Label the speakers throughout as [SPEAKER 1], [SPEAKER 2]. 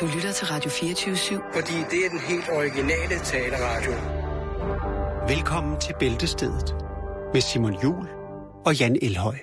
[SPEAKER 1] Du lytter til Radio 24-7.
[SPEAKER 2] Fordi det er den helt originale taleradio.
[SPEAKER 3] Velkommen til Bæltestedet med Simon Jul og Jan Elhøj.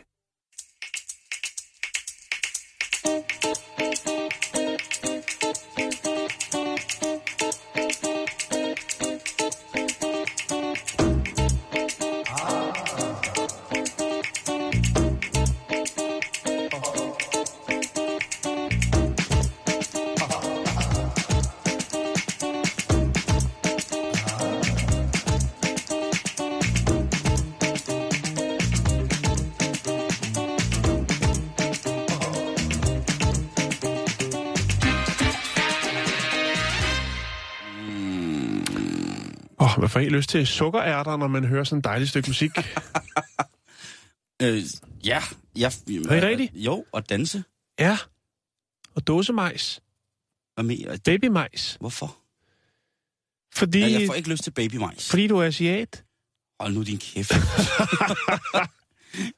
[SPEAKER 4] Åh, oh, man får helt lyst til sukkerærter, når man hører sådan et dejligt stykke musik.
[SPEAKER 5] Øh, ja. Jeg,
[SPEAKER 4] det rigtigt?
[SPEAKER 5] Jo, og danse.
[SPEAKER 4] ja. Og dåsemajs.
[SPEAKER 5] Hvad mere?
[SPEAKER 4] Babymajs.
[SPEAKER 5] Hvorfor?
[SPEAKER 4] Fordi,
[SPEAKER 5] Ja, jeg får ikke lyst til babymajs.
[SPEAKER 4] fordi du er asiat.
[SPEAKER 5] Hold nu din kæft.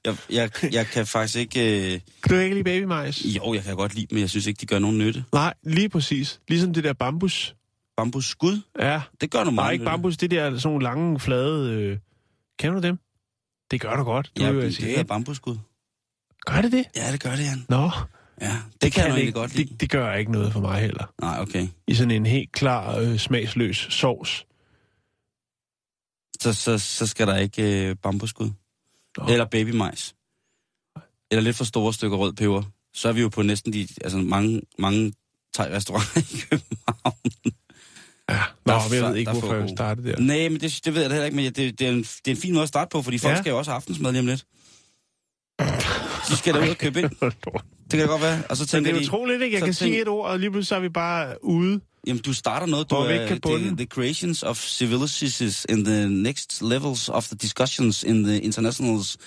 [SPEAKER 5] jeg, jeg, jeg kan faktisk ikke... Øh...
[SPEAKER 4] Du kan ikke lide babymajs.
[SPEAKER 5] Jo, jeg kan godt lide, men jeg synes ikke, de gør nogen nytte.
[SPEAKER 4] Nej, lige præcis. Ligesom det der bambus.
[SPEAKER 5] Bambusskud,
[SPEAKER 4] Ja.
[SPEAKER 5] det gør nu meget
[SPEAKER 4] Nej, ikke
[SPEAKER 5] nytte.
[SPEAKER 4] bambus. Det der sådan nogle lange, flade... Øh... Kender du dem? Det gør du godt. Du
[SPEAKER 5] Ja,
[SPEAKER 4] er jo altså
[SPEAKER 5] det, det er
[SPEAKER 4] asiat.
[SPEAKER 5] bambusskud.
[SPEAKER 4] Gør det det?
[SPEAKER 5] Ja, det gør det, Jan.
[SPEAKER 4] Nå,
[SPEAKER 5] Ja, det, det kan jeg nu egentlig godt lide.
[SPEAKER 4] det, det gør ikke noget for mig heller.
[SPEAKER 5] Nej, okay.
[SPEAKER 4] I sådan en helt klar, øh, smagsløs sovs.
[SPEAKER 5] Så, så, så skal der ikke øh, bambusskud.
[SPEAKER 4] Nå.
[SPEAKER 5] Eller babymajs. Eller lidt for store stykker rød peber. Så er vi jo på næsten de, altså mange, mange thai-restauranter i København.
[SPEAKER 4] Ja, Nå,
[SPEAKER 5] Der er
[SPEAKER 4] men jeg
[SPEAKER 5] fa-
[SPEAKER 4] ved ikke,
[SPEAKER 5] der er
[SPEAKER 4] hvorfor jeg
[SPEAKER 5] få-
[SPEAKER 4] startede der.
[SPEAKER 5] Nej, men det, det ved jeg da heller ikke, men det, det, er en, det er en fin måde at starte på, fordi folk
[SPEAKER 4] Ja.
[SPEAKER 5] ja. skal jo også have aftensmad lige om lidt. De skal da ud og købe ind. Det kan da godt være. Og så
[SPEAKER 4] Men
[SPEAKER 5] tænker
[SPEAKER 4] det er
[SPEAKER 5] de,
[SPEAKER 4] utroligt, ikke? Jeg
[SPEAKER 5] så
[SPEAKER 4] kan sige
[SPEAKER 5] tænker-
[SPEAKER 4] et ord, og lige pludselig så er vi bare ude.
[SPEAKER 5] Jamen, du starter noget, du
[SPEAKER 4] Hvor vi ikke
[SPEAKER 5] er
[SPEAKER 4] kan bunde.
[SPEAKER 5] the, the creations of civilities in the next levels of the discussions in the internationals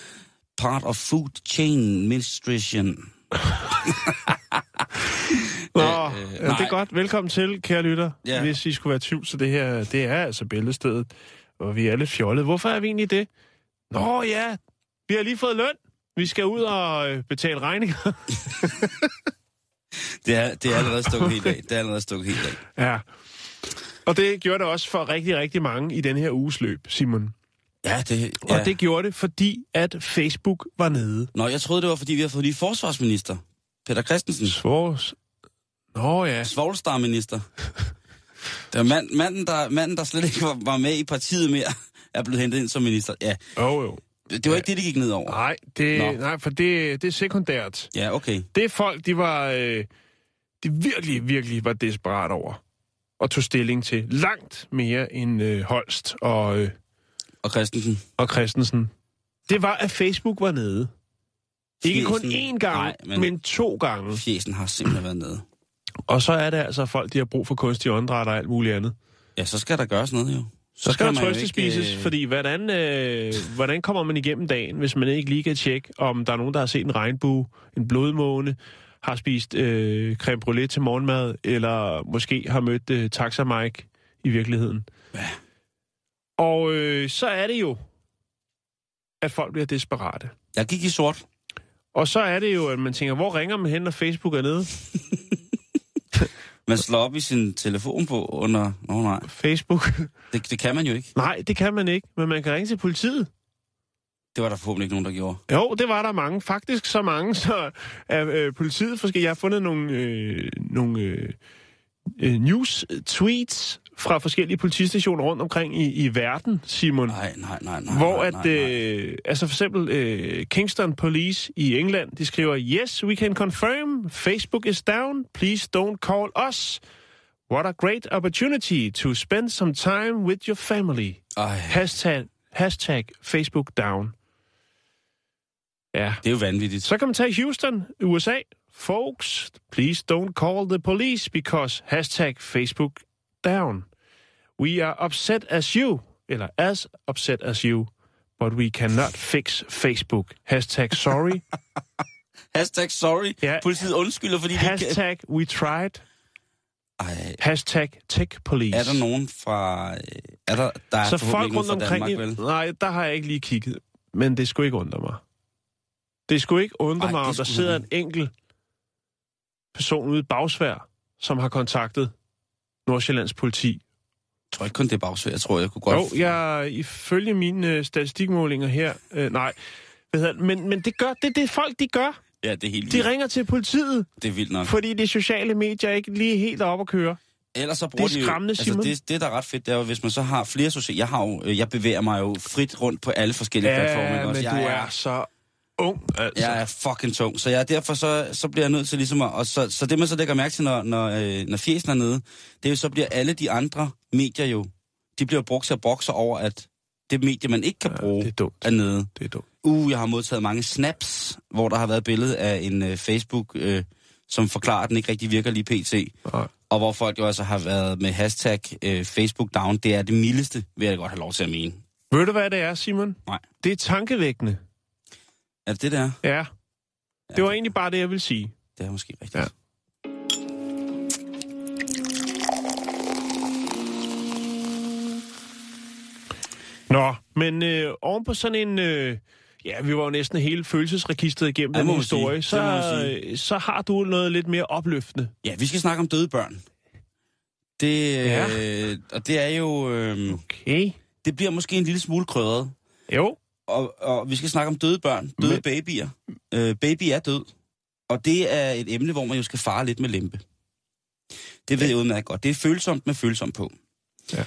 [SPEAKER 5] part of food chain administration.
[SPEAKER 4] Nå,
[SPEAKER 5] Øh,
[SPEAKER 4] øh,
[SPEAKER 5] øh,
[SPEAKER 4] det er
[SPEAKER 5] nej.
[SPEAKER 4] godt. Velkommen til, kære lytter. Ja.
[SPEAKER 5] Ja.
[SPEAKER 4] Hvis I skulle være i tvivl, så det her, det er altså bæltestedet. Og vi er lidt fjollede. Hvorfor er vi egentlig det? Nå ja, vi har lige fået løn. Vi skal ud og øh, betale regninger.
[SPEAKER 5] Det er, det er allerede stukket helt af. Det er allerede stukket helt af.
[SPEAKER 4] ja. Og det gjorde det også for rigtig, rigtig mange i den her uges løb, Simon.
[SPEAKER 5] Ja, det...
[SPEAKER 4] Ja.
[SPEAKER 5] Ja.
[SPEAKER 4] Og det gjorde det, fordi at Facebook var nede.
[SPEAKER 5] Nå, jeg troede, det var, fordi vi har fået ny forsvarsminister. Peter Christensen.
[SPEAKER 4] Svores. Nå ja.
[SPEAKER 5] Svoglstar-minister. Det var mand, manden, der, manden, der slet ikke var, var med i partiet mere, er blevet hentet ind som minister. Ja,
[SPEAKER 4] Oh, jo.
[SPEAKER 5] det var ikke det, det gik ned over.
[SPEAKER 4] Nej, det,
[SPEAKER 5] Nå.
[SPEAKER 4] nej, for det, det er sekundært.
[SPEAKER 5] Ja, okay.
[SPEAKER 4] Det er folk, de var... Øh, de virkelig, virkelig var desperat over. Og tog stilling til langt mere end øh, Holst og, øh,
[SPEAKER 5] Og Christensen.
[SPEAKER 4] og Christensen. Det var, at Facebook var nede. Ikke kun
[SPEAKER 5] Fjesen.
[SPEAKER 4] én gang, Nej,
[SPEAKER 5] Nej,
[SPEAKER 4] men...
[SPEAKER 5] men-
[SPEAKER 4] men to gange.
[SPEAKER 5] Fjesen har simpelthen været nede.
[SPEAKER 4] Og så er det altså folk, de har brug for kunstig åndedræt og alt muligt andet.
[SPEAKER 5] Ja, så skal der gøres noget jo.
[SPEAKER 4] Så skal
[SPEAKER 5] kan
[SPEAKER 4] der
[SPEAKER 5] man jo
[SPEAKER 4] trøste
[SPEAKER 5] ikke,
[SPEAKER 4] spises,
[SPEAKER 5] øh,
[SPEAKER 4] fordi hvordan, øh, hvordan kommer man igennem dagen, hvis man ikke lige kan tjekke, om der er nogen, der har set en regnbue, en blodmåne, har spist øh, creme brulee til morgenmad, eller måske har mødt øh, Taxa Mike i virkeligheden. Ja. Og øh, så er det jo, at folk bliver desperate.
[SPEAKER 5] Jeg gik i sort.
[SPEAKER 4] Og så er det jo, at man tænker, hvor ringer man hen, når Facebook er nede?
[SPEAKER 5] Man slår op i sin telefon på under... Nå nej,
[SPEAKER 4] Facebook?
[SPEAKER 5] det, det kan man jo ikke.
[SPEAKER 4] Nej, det kan man ikke, men man kan ringe til politiet.
[SPEAKER 5] Det var der forhåbentlig ikke nogen, der gjorde.
[SPEAKER 4] Jo, det var der mange. Faktisk så mange, så at øh, politiet forskellige... Jeg har fundet nogle, øh, nogle øh, øh, news-tweets fra forskellige politistationer rundt omkring i, i verden, Simon. Nej,
[SPEAKER 5] Nej, nej, nej, nej.
[SPEAKER 4] hvor
[SPEAKER 5] nej,
[SPEAKER 4] at,
[SPEAKER 5] nej, nej.
[SPEAKER 4] øh, altså for eksempel øh, Kingston Police i England, de skriver, Yes, we can confirm, Facebook is down, please don't call us. What a great opportunity to spend some time with your family.
[SPEAKER 5] Ej,
[SPEAKER 4] Hashtag, hashtag Facebook down. Ja.
[SPEAKER 5] det er jo vanvittigt.
[SPEAKER 4] Så kan man tage Houston, USA. Folks, please don't call the police because hashtag Facebook down. We are upset as you, eller as upset as you, but we cannot fix Facebook. Hashtag sorry.
[SPEAKER 5] Hashtag sorry.
[SPEAKER 4] Ja.
[SPEAKER 5] Ja. Politiet undskylder, fordi de ikke kan...
[SPEAKER 4] Hashtag we tried.
[SPEAKER 5] Ej,
[SPEAKER 4] Hashtag tech police.
[SPEAKER 5] er der nogen fra... øh, Er der, der er
[SPEAKER 4] Så
[SPEAKER 5] forhåbentlig
[SPEAKER 4] folk
[SPEAKER 5] ikke nogen
[SPEAKER 4] rundt
[SPEAKER 5] fra
[SPEAKER 4] omkring...
[SPEAKER 5] Danmark, vel?
[SPEAKER 4] Danmark, nej, der har jeg ikke lige kigget. Men det skulle ikke undre mig. Det skulle ikke undre
[SPEAKER 5] Ej,
[SPEAKER 4] mig,
[SPEAKER 5] det
[SPEAKER 4] om der
[SPEAKER 5] skulle
[SPEAKER 4] sidder en
[SPEAKER 5] det
[SPEAKER 4] enkelt person ude i bagsvær, som har kontaktet Nordsjællands politi.
[SPEAKER 5] Jeg tror ikke kun, det er bagsvær. Jeg tror, jeg kunne godt...
[SPEAKER 4] Jo, jeg, ifølge mine øh, statistikmålinger her, øh, nej, hvad hedder det? men, men det gør, det er det folk, de gør.
[SPEAKER 5] Ja, det er helt vildt.
[SPEAKER 4] De ringer til politiet,
[SPEAKER 5] Det er vildt nok.
[SPEAKER 4] fordi de sociale medier er ikke lige helt op at køre.
[SPEAKER 5] Ellers så bruger
[SPEAKER 4] Det er
[SPEAKER 5] de jo-
[SPEAKER 4] skræmmende, Simon.
[SPEAKER 5] Altså, det, det, der er ret fedt, det er jo, hvis man så har flere sociale... Jeg, har jo, øh, jeg bevæger mig jo frit rundt på alle forskellige platforme. ikke
[SPEAKER 4] men
[SPEAKER 5] også?
[SPEAKER 4] du
[SPEAKER 5] jeg
[SPEAKER 4] er så ung, altså.
[SPEAKER 5] Jeg er fucking tung, så jeg, derfor så, så bliver jeg nødt til ligesom at... Og så, så det, man så lægger mærke til, når, når, øh, når fjesen er nede, det er jo, så bliver alle de andre medier jo... De bliver brugt til at brokse over, at det medie, man ikke kan bruge,
[SPEAKER 4] det er dumt.
[SPEAKER 5] er nede.
[SPEAKER 4] Det er dumt.
[SPEAKER 5] Uh, jeg har modtaget mange snaps, hvor der har været billede af en øh, Facebook, øh, som forklarer, at den ikke rigtig virker lige pt.
[SPEAKER 4] Nej.
[SPEAKER 5] Og hvor folk jo altså har været med hashtag øh, Facebook down. Det er det mildeste, vil jeg da godt have lov til at mene.
[SPEAKER 4] Ved du, hvad det er, Simon?
[SPEAKER 5] Nej.
[SPEAKER 4] Det er tankevækkende.
[SPEAKER 5] Er det det der?
[SPEAKER 4] Ja. Det var egentlig bare det, jeg ville sige.
[SPEAKER 5] Det er måske rigtigt.
[SPEAKER 4] Ja.
[SPEAKER 5] Ja.
[SPEAKER 4] Nå, men øh, oven på sådan en... Øh, ja, vi var jo næsten hele følelsesregistret igennem
[SPEAKER 5] Ja,
[SPEAKER 4] den
[SPEAKER 5] må man
[SPEAKER 4] historie.
[SPEAKER 5] sige. Det må man
[SPEAKER 4] Så, øh, så har du noget lidt mere opløftende.
[SPEAKER 5] Ja, vi skal snakke om døde børn. Det,
[SPEAKER 4] Ja.
[SPEAKER 5] øh, og det er jo... Øh,
[SPEAKER 4] Okay.
[SPEAKER 5] det bliver måske en lille smule krødret.
[SPEAKER 4] Jo.
[SPEAKER 5] Og, og vi skal snakke om døde børn,
[SPEAKER 4] Men-
[SPEAKER 5] døde Men... babyer. Øh, baby er død. Og det er et emne, hvor man jo skal fare lidt med lempe. Det ved jeg udmærket godt. Det er følsomt med følsomt på.
[SPEAKER 4] Ja.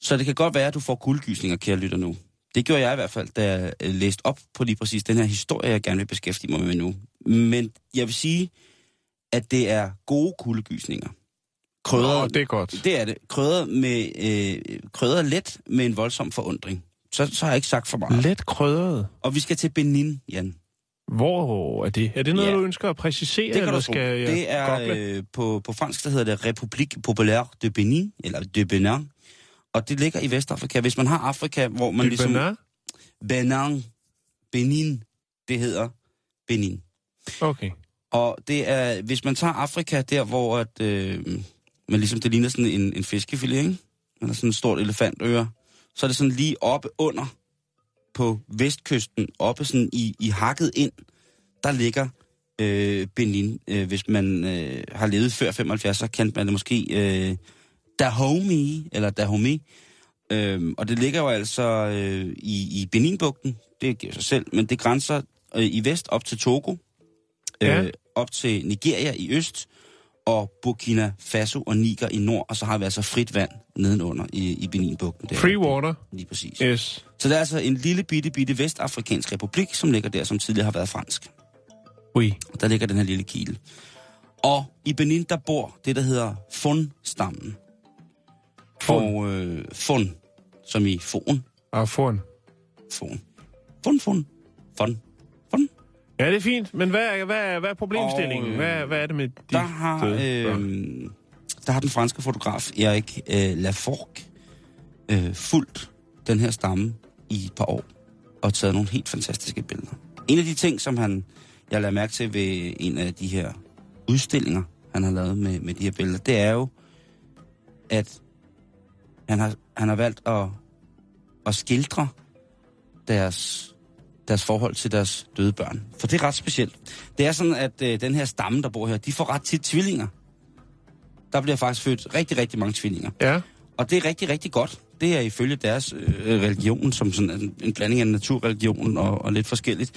[SPEAKER 5] Så det kan godt være, at du får guldgysninger, kære lytter nu. Det gjorde jeg i hvert fald, da jeg øh, læste op på lige præcis den her historie, jeg gerne vil beskæftige mig med nu. Men jeg vil sige, at det er gode kuldegysninger. Krødret,
[SPEAKER 4] Nå, det er godt.
[SPEAKER 5] det er det. Krødret, med, øh, krødret let med en voldsom forundring. Så, så har jeg ikke sagt for meget.
[SPEAKER 4] Let krødret.
[SPEAKER 5] Og vi skal til Benin, Jan.
[SPEAKER 4] Hvor er det? Er det noget,
[SPEAKER 5] Ja.
[SPEAKER 4] du ønsker at præcisere,
[SPEAKER 5] Det kan
[SPEAKER 4] eller
[SPEAKER 5] du tro.
[SPEAKER 4] skal jeg
[SPEAKER 5] Det er
[SPEAKER 4] gogle?
[SPEAKER 5] øh, på, på fransk, der hedder det République Populaire de Benin, eller de Benin. Og det ligger i Vestafrika. Hvis man har Afrika, hvor man
[SPEAKER 4] Det er
[SPEAKER 5] ligesom...
[SPEAKER 4] Bernard?
[SPEAKER 5] Benin. Benin. Det hedder Benin.
[SPEAKER 4] Okay.
[SPEAKER 5] Og det er, hvis man tager Afrika der, hvor at, øh, man ligesom, det ligner sådan en, en fiskefilet, ikke? Eller sådan en stort elefantøre. Så er det sådan lige oppe under på vestkysten, oppe sådan i, i hakket ind, der ligger øh, Benin. Øh, hvis man øh, har levet før 75, så kendte man det måske øh, Dahomey, eller Dahomey. Øhm, og det ligger jo altså øh, i, i Beninbugten, det giver sig selv, men det grænser øh, i vest op til Togo, øh,
[SPEAKER 4] Ja.
[SPEAKER 5] op til Nigeria i øst, og Burkina Faso og Niger i nord, og så har vi altså frit vand nedenunder i, i Beninbugten. der.
[SPEAKER 4] Free water.
[SPEAKER 5] Lige præcis.
[SPEAKER 4] Yes.
[SPEAKER 5] Så det er altså en lille bitte, bitte vestafrikansk republik, som ligger der, som tidligere har været fransk.
[SPEAKER 4] Oui.
[SPEAKER 5] Der ligger den her lille kile. Og i Benin, der bor det, der hedder Fon-stammen.
[SPEAKER 4] Fon.
[SPEAKER 5] Og øh, Fon, som i Fon.
[SPEAKER 4] Og Ah, foran.
[SPEAKER 5] Fon. Fon, Fon. Fon. Fon.
[SPEAKER 4] Ja, det er fint. Men hvad er, hvad er, hvad er problemstillingen?
[SPEAKER 5] Og, øh,
[SPEAKER 4] hvad, hvad er det med de
[SPEAKER 5] Der har,
[SPEAKER 4] døde
[SPEAKER 5] øh,
[SPEAKER 4] børn?
[SPEAKER 5] der har den franske fotograf Erik øh, Laforgue øh, fulgt den her stamme i et par år og taget nogle helt fantastiske billeder. En af de ting, som han, jeg lader mærke til ved en af de her udstillinger, han har lavet med, med de her billeder, det er jo, at han har, han har valgt at, at skildre deres, deres forhold til deres døde børn. For det er ret specielt. Det er sådan, at øh, den her stamme, der bor her, de får ret tit tvillinger. Der bliver faktisk født rigtig, rigtig mange tvillinger.
[SPEAKER 4] Ja.
[SPEAKER 5] Og det er rigtig, rigtig godt. Det er ifølge deres øh, religion, som sådan en, en blanding af naturreligionen og, og lidt forskelligt,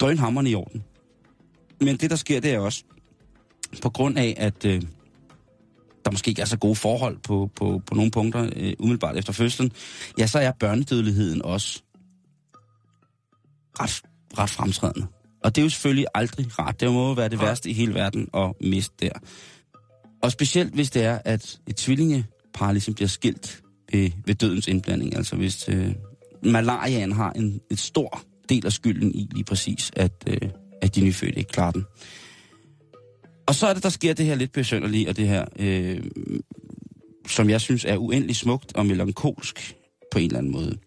[SPEAKER 5] drønhammerne i orden. Men det, der sker, det er også, på grund af, at øh, der måske ikke er så gode forhold på, på, på nogle punkter øh, umiddelbart efter fødslen, ja, så er børnedødeligheden også ret, ret fremtrædende. Og det er jo selvfølgelig aldrig rart. Det må jo være det værste i hele verden at miste der. Og specielt hvis det er, at et tvillingepar ligesom bliver skilt ved, ved dødens indblanding. Altså hvis øh, malariaen har en et stor del af skylden i lige præcis, at, øh, at de nyfødte ikke klarer den. Og så er det, der sker det her lidt besønderlige, og det her, øh, som jeg synes er uendelig smukt og melankolsk på en eller anden måde.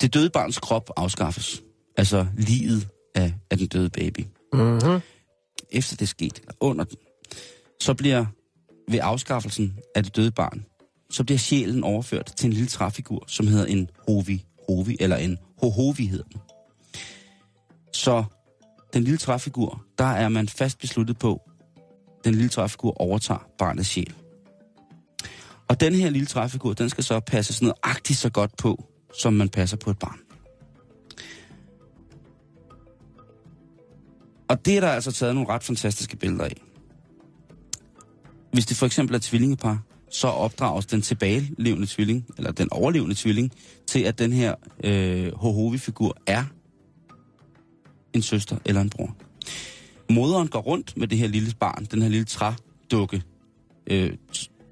[SPEAKER 5] Det døde barns krop afskaffes. Altså livet af, af den døde baby
[SPEAKER 4] Mm-hmm.
[SPEAKER 5] efter det er sket, eller under den, så bliver ved afskaffelsen af det døde barn, så bliver sjælen overført til en lille træfigur, som hedder en hovi, hovi eller en hohovi hedder den. Så den lille træfigur, der er man fast besluttet på, den lille træfigur overtager barnets sjæl. Og den her lille træfigur, den skal så passes nøjagtigt så godt på, som man passer på et barn. Og det er der altså taget nogle ret fantastiske billeder af. Hvis det for eksempel er tvillingepar, så opdrages den tilbagelevende tvilling, eller den overlevende tvilling, til at den her øh, Hohovi-figur er en søster eller en bror. Moderen går rundt med det her lille barn, den her lille trædukke, øh,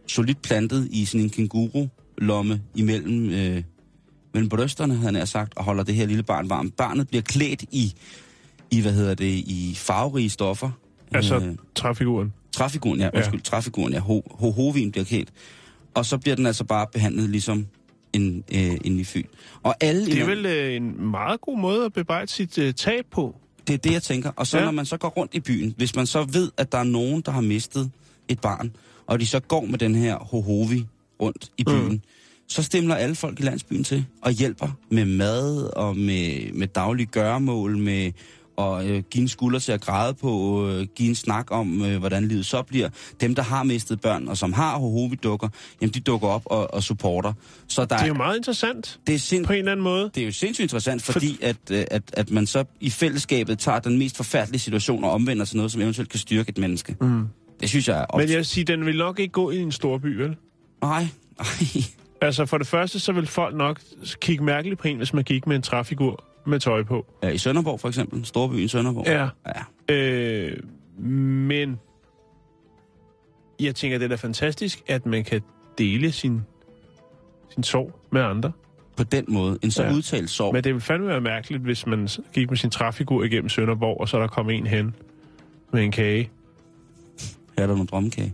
[SPEAKER 5] solidt plantet i sådan en kenguru-lomme imellem øh, mellem brysterne, havde han nær sagt, og holder det her lille barn varmt. Barnet bliver klædt i, i hvad hedder det, i farverige stoffer. Øh,
[SPEAKER 4] Altså træfiguren.
[SPEAKER 5] Træfiguren, ja. Undskyld, ja. træfiguren, ja. Ho- Hohovin bliver kælt. Og så bliver den altså bare behandlet ligesom en, øh, en nyfødt. Og alle...
[SPEAKER 4] Det er vel øh, en meget god måde at bebrejde sit øh, tab på.
[SPEAKER 5] Det er det, jeg tænker. Og så
[SPEAKER 4] Ja.
[SPEAKER 5] ja. når man så går rundt i byen, hvis man så ved, at der er nogen, der har mistet et barn, og de så går med den her hohovi rundt i byen, mm. så stemler alle folk i landsbyen til og hjælper med mad og med, med daglige gøremål, med og øh, give en skulder til at græde på, øh, give en snak om, øh, hvordan livet så bliver. Dem, der har mistet børn, og som har hohovi-dukker, jamen de dukker op og, og supporter. Så der
[SPEAKER 4] Det er jo meget interessant
[SPEAKER 5] det er sind,
[SPEAKER 4] på en eller anden måde.
[SPEAKER 5] det er jo sindssygt interessant, fordi at, øh, at, at man så i fællesskabet tager den mest forfærdelige situation og omvender til noget, som eventuelt kan styrke et menneske. Mm. Det synes jeg er... Op...
[SPEAKER 4] Men jeg vil sige, den vil nok ikke gå i en stor by, vel?
[SPEAKER 5] Nej, nej.
[SPEAKER 4] Altså for det første, så vil folk nok kigge mærkeligt på en, hvis man gik med en træfigur med tøj på.
[SPEAKER 5] Ja, Øh, I Sønderborg for eksempel. Storbyen Sønderborg.
[SPEAKER 4] Ja.
[SPEAKER 5] ja.
[SPEAKER 4] Øh, men jeg tænker, det er da fantastisk, at man kan dele sin, sin sorg med andre.
[SPEAKER 5] På den måde. En så
[SPEAKER 4] Ja.
[SPEAKER 5] ja. udtalt sorg.
[SPEAKER 4] Men det ville fandme være mærkeligt, hvis man s- gik med sin træfigur igennem Sønderborg, og så der kom en hen med en kage.
[SPEAKER 5] Her er der nogle drømmekage.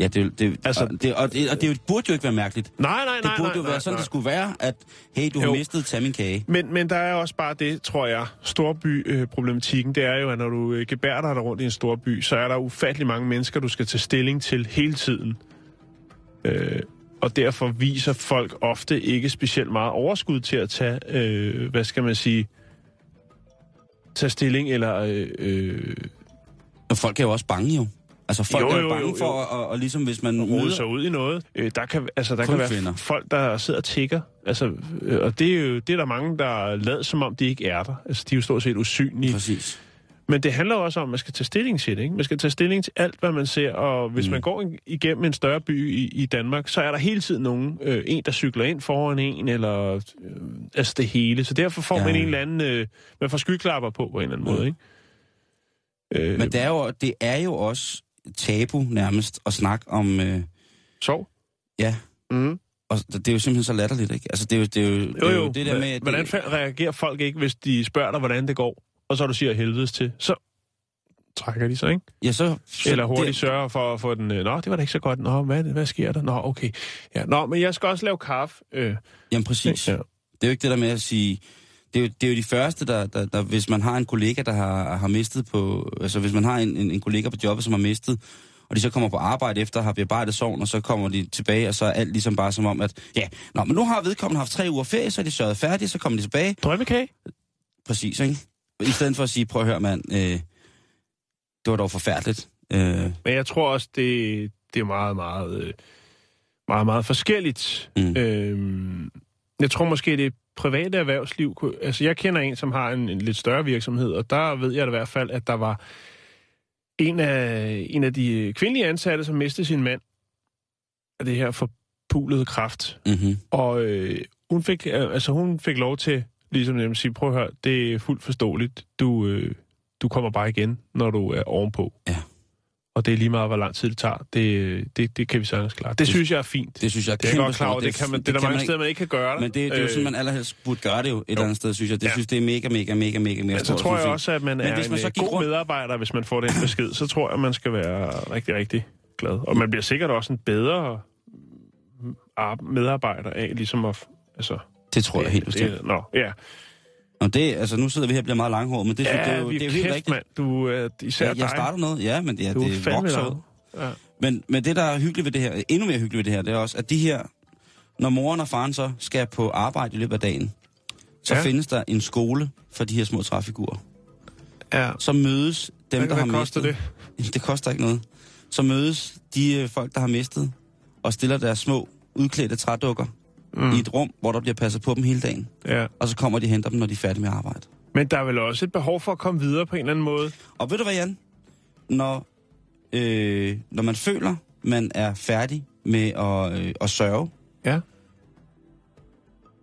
[SPEAKER 5] Ja, det, det,
[SPEAKER 4] Altså-
[SPEAKER 5] altså, og, det, og, det, og det jo- burde jo ikke være mærkeligt. Det
[SPEAKER 4] Nej, nej, nej,
[SPEAKER 5] burde
[SPEAKER 4] nej,
[SPEAKER 5] jo være
[SPEAKER 4] nej,
[SPEAKER 5] sådan,
[SPEAKER 4] nej.
[SPEAKER 5] det skulle være, at hey, du har
[SPEAKER 4] Jo.
[SPEAKER 5] mistet, tag min kage.
[SPEAKER 4] Men, men der er også bare det, tror jeg, storby-problematikken, det er jo, at når du øh, gebærer dig rundt i en storby, så er der ufattelig mange mennesker, du skal tage stilling til hele tiden. Øh, og derfor viser folk ofte ikke specielt meget overskud til at tage, øh, hvad skal man sige, tage stilling eller... Øh, øh,
[SPEAKER 5] Og folk er jo også bange jo. Altså folk
[SPEAKER 4] Jo,
[SPEAKER 5] jo, er
[SPEAKER 4] jo,
[SPEAKER 5] jo bange
[SPEAKER 4] jo, jo.
[SPEAKER 5] for, og, og ligesom hvis man
[SPEAKER 4] rode
[SPEAKER 5] møder...
[SPEAKER 4] sig ud i noget. Øh, der kan, altså, der
[SPEAKER 5] Kun
[SPEAKER 4] kan være
[SPEAKER 5] kvinder.
[SPEAKER 4] folk, der sidder og tigger. Altså, øh, og det er jo det er der mange, der lader, som om de ikke er der. Altså, de er jo stort set usynlige.
[SPEAKER 5] Præcis.
[SPEAKER 4] Men det handler også om, at man skal tage stilling til det. Ikke? Man skal tage stilling til alt, hvad man ser. Og hvis mm. man går en- igennem en større by i, i Danmark, så er der hele tiden nogen. Øh, en, der cykler ind foran en, eller øh, altså det hele. Så derfor får ja.
[SPEAKER 5] Ja.
[SPEAKER 4] man en eller anden... Øh, man får skyklapper på på en eller anden måde. Ikke? Øh,
[SPEAKER 5] Men det er, jo, det er jo også tabu nærmest at snakke om, øh,
[SPEAKER 4] Sov.
[SPEAKER 5] ja,
[SPEAKER 4] Mm.
[SPEAKER 5] og det er jo simpelthen så latterligt, ikke? Altså, det er jo det, er jo, det,
[SPEAKER 4] Jo,
[SPEAKER 5] er
[SPEAKER 4] jo.
[SPEAKER 5] Øh, det der med... at
[SPEAKER 4] Hvordan
[SPEAKER 5] det,
[SPEAKER 4] fa- reagerer folk ikke, hvis de spørger dig, hvordan det går? Og så du siger helvedes til. Så trækker de sig, ikke?
[SPEAKER 5] ja, så, så
[SPEAKER 4] Eller hurtigt
[SPEAKER 5] det-
[SPEAKER 4] sørger for at få den, øh, nå, det var da ikke så godt, nå, hvad, hvad sker der? Nå, okay. Ja, nå, men jeg skal også lave kaffe. Øh,
[SPEAKER 5] Jamen, præcis.
[SPEAKER 4] ja.
[SPEAKER 5] Det er jo ikke det der med at sige... Det er, jo, det er jo de første, der, der, der, hvis man har en kollega, der har, har mistet på... Altså, hvis man har en, en, en kollega på jobbet, som har mistet, og de så kommer på arbejde efter, har bearbejdet sorgen, og så kommer de tilbage, og så er alt ligesom bare som om, at ja, nå, men nu har vedkommende haft tre uger ferie, så er de sørget færdige, så kommer de tilbage,
[SPEAKER 4] Drømmekage?
[SPEAKER 5] Præcis, ikke? I stedet for at sige, prøv at høre, mand, øh, det var dog forfærdeligt. Øh,
[SPEAKER 4] Men jeg tror også, det, det er meget, meget, øh, meget, meget forskelligt. Mm.
[SPEAKER 5] Mm.
[SPEAKER 4] Øhm, jeg tror måske, det private erhvervsliv... kunne- Altså, jeg kender en, som har en, en lidt større virksomhed, og der ved jeg da i hvert fald, at der var en af, en af de kvindelige ansatte, som mistede sin mand af det her forpulede kraft.
[SPEAKER 5] mm-hmm.
[SPEAKER 4] Og øh, hun, fik, øh, altså, hun fik lov til ligesom at sige, prøv at høre, det er fuldt forståeligt. Du, øh, du kommer bare igen, når du er ovenpå.
[SPEAKER 5] Ja.
[SPEAKER 4] Og det er lige meget, hvor lang tid det tager. Det, øh, det, det kan vi sagtens klare. Det, det synes jeg er fint. Det,
[SPEAKER 5] Det synes jeg er
[SPEAKER 4] det er jeg
[SPEAKER 5] kæmpe
[SPEAKER 4] godt klar over.
[SPEAKER 5] stort.
[SPEAKER 4] Det, kan man, det, er der
[SPEAKER 5] kan
[SPEAKER 4] mange
[SPEAKER 5] ikke-
[SPEAKER 4] steder, man ikke kan gøre det. Øh,
[SPEAKER 5] Men det, det er jo sådan, man allerhelst burde gøre det jo et eller andet sted, synes jeg. Det
[SPEAKER 4] Ja.
[SPEAKER 5] ja. synes det er mega, mega, mega, mega, mega
[SPEAKER 4] Men så
[SPEAKER 5] stort,
[SPEAKER 4] altså, tror jeg
[SPEAKER 5] synes
[SPEAKER 4] også, at man
[SPEAKER 5] Men
[SPEAKER 4] er
[SPEAKER 5] hvis man
[SPEAKER 4] en
[SPEAKER 5] så
[SPEAKER 4] øh,
[SPEAKER 5] gik
[SPEAKER 4] god
[SPEAKER 5] rundt-
[SPEAKER 4] medarbejder, hvis man får den besked. Så tror jeg, man skal være rigtig, rigtig glad. Og man bliver sikkert også en bedre mm, ar- medarbejder af ligesom at... f- Altså,
[SPEAKER 5] Det tror jeg helt bestemt.
[SPEAKER 4] det, Nå, ja.
[SPEAKER 5] Og det, altså, nu sidder vi her og bliver meget langhåret, men det, synes,
[SPEAKER 4] Ja,
[SPEAKER 5] det er jo,
[SPEAKER 4] vi
[SPEAKER 5] det er jo
[SPEAKER 4] kæft,
[SPEAKER 5] helt rigtigt.
[SPEAKER 4] mand. Du er især
[SPEAKER 5] Jeg, jeg
[SPEAKER 4] dig.
[SPEAKER 5] starter noget, ja, men det, er,
[SPEAKER 4] Du er
[SPEAKER 5] det
[SPEAKER 4] fandme
[SPEAKER 5] vokser
[SPEAKER 4] langt.
[SPEAKER 5] jo.
[SPEAKER 4] Ja.
[SPEAKER 5] Men, men det, der er hyggeligt ved det her, endnu mere hyggeligt ved det her, det er også, at de her, når moren og faren så skal på arbejde i løbet af dagen, så
[SPEAKER 4] Ja.
[SPEAKER 5] ja. findes der en skole for de her små træfigurer.
[SPEAKER 4] Ja.
[SPEAKER 5] Så mødes dem,
[SPEAKER 4] Hvad,
[SPEAKER 5] der har
[SPEAKER 4] hvad koster
[SPEAKER 5] mistet.
[SPEAKER 4] det?
[SPEAKER 5] Jamen, det koster ikke noget. Så mødes de øh, folk, der har mistet, og stiller deres små udklædte trædukker mm. i et rum, hvor der bliver passet på dem hele dagen.
[SPEAKER 4] Ja.
[SPEAKER 5] Og så kommer de og henter dem, når de er færdige med at arbejde.
[SPEAKER 4] Men der er vel også et behov for at komme videre på en eller anden måde.
[SPEAKER 5] Og ved du hvad, Jan? Når, øh, når man føler, man er færdig med at, øh, at sørge,
[SPEAKER 4] Ja.